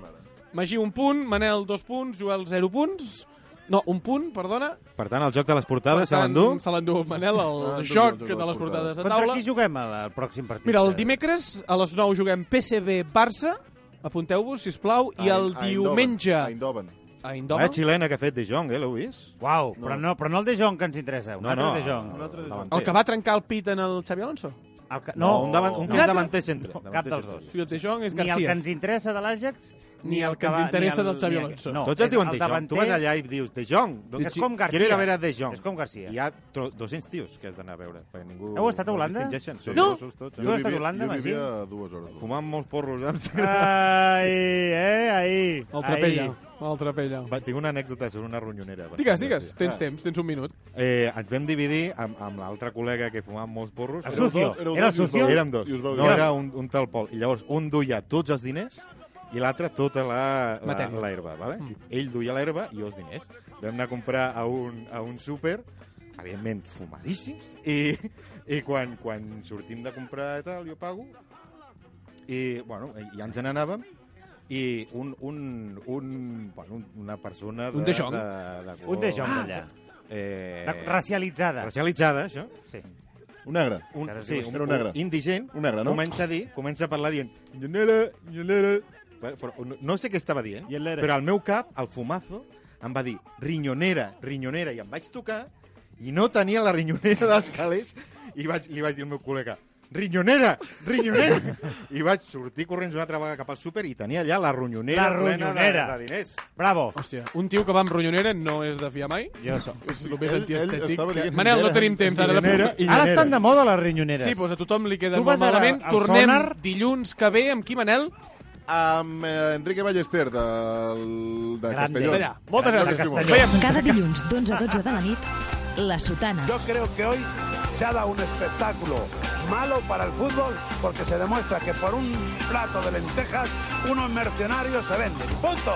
I: Magí un punt, Manel dos punts, Joel zero punts. No, un punt, perdona.
J: Per tant, el joc de les
G: Ah,
J: portades se
I: Per tant,
J: l'endú.
I: Se l'endú Manel, el
J: l'endú,
I: joc
J: l'endú
I: de les portades de
G: Contra
I: taula.
G: qui juguem al al pròxim partit?
I: Mira, el dimecres a les 9 juguem PSV-Barça, apunteu-vos, si plau, i el
F: A- a
I: diumenge...
F: Eindhoven, A Eindhoven.
I: A
G: Ah,
J: Vaya xilena que ha fet De Jong, eh? L'heu vist?
G: Uau, però no, però no el De Jong que ens interessa, un
J: No,
G: altre
J: no,
G: De Jong.
J: un altre De Jong.
I: El que va trencar el pit en el Xavi Alonso?
G: El que...
J: No, un davant- un
G: no.
J: davanter centre.
G: No, cap
J: Davanter
G: dels
J: centre.
G: dos.
I: Fiat de Jong és
G: Ni el
I: García.
G: que ens interessa de l'Àgex,
I: Ni el que ens
G: va-
I: interessa
G: ni
I: del Xavi
G: ni el-
I: Alonso.
G: No,
J: Tots et
G: és
J: diuen
G: el
J: De Jong. Tu vas allà i dius De Jong. Doncs
G: És com Garcia.
J: Quiero ir a veure a De Jong.
G: És com Garcia.
J: I hi ha tro- 200 tios que has d'anar a veure. Perquè ningú
G: Heu estat a Holanda?
J: No! distingeixen.
G: No!
J: Són grossos tots.
G: Jo he estat a Holanda,
F: jo vivia
G: Magí.
F: a dues hores.
J: Fumant molts porros a Amsterdam.
G: Ai, eh, ahir.
I: El trapella, el trapella.
J: Va, [laughs] tinc una anècdota sobre una ronyonera.
I: Digues,
G: doncs
I: digues,
G: Ah.
I: tens temps, tens un minut.
J: Eh, ens vam dividir amb, amb l'altre col·lega que fumava molts porros.
G: El Sucio.
J: Éreu dos, éreu
G: Era
J: dos i us
G: Sucio?
J: vau- Érem dos.
G: I us vau
J: No,
G: dir.
J: era un, un tal Pol. I llavors, un duia tots els diners i l'altre tota la, la,
I: Matèria.
J: l'herba, vale? Ell duia l'herba i jo els diners. Vam anar a comprar a un, a un súper, evidentment fumadíssims, i, i quan, quan sortim de comprar i tal, jo pago, i, bueno, i ja ens n'anàvem, i un, un, un, bueno, un- una persona...
I: Un
J: de
I: De Jong.
J: de, de
G: Un De Jong,
J: Ah,
G: allà.
J: Eh,
G: De- racialitzada.
J: Racialitzada, això.
G: Sí.
F: Un negre.
J: Un,
G: Ara es
J: sí,
G: diu
J: un,
F: era
J: un
F: un negre.
J: indigent.
F: Un negre, no?
J: Comença a dir, comença a parlar dient... "Nyelere, nyelere". Bueno, Però no, no sé què estava dient,
G: Nyelere.
J: però al meu cap, al fumazo, em va dir rinyonera, rinyonera, i em vaig tocar i no tenia la rinyonera dels calés i vaig, li vaig dir al meu col·lega rinyonera, rinyonera i vaig sortir corrents una altra vegada cap al súper i tenia allà la ronyonera
I: La
J: plena de,
I: ronyonera.
J: de diners
G: Bravo.
I: Hòstia, un tio que va amb ronyonera no és de fiar mai.
G: Jo sóc.
I: És el més
G: Ell- ell
I: antiestètic.
G: estava
I: Que...
G: dient
I: Manel, no
G: ronyonera,
I: tenim temps ara de
G: ronyonera i Ara estan de moda les rinyoneres.
I: Sí, doncs a tothom li queda
G: Tu
I: molt
G: vas ara
I: malament.
G: al
I: Tornem
G: Sonar?
I: dilluns que ve amb qui, Manel?
F: Amb eh, Enrique Ballester, de, de
I: Grande.
F: Castelló.
I: Allà. Moltes gràcies,
F: Castelló.
I: Castelló.
C: Cada dilluns d'11 a 12 de la nit, La Sotana.
N: Yo creo que hoy se ha dado un espectáculo malo para el fútbol porque se demuestra que por un plato de lentejas unos mercenarios se venden. ¡Punto!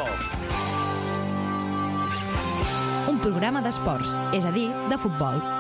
C: Un programa d'esports, és a dir, de futbol.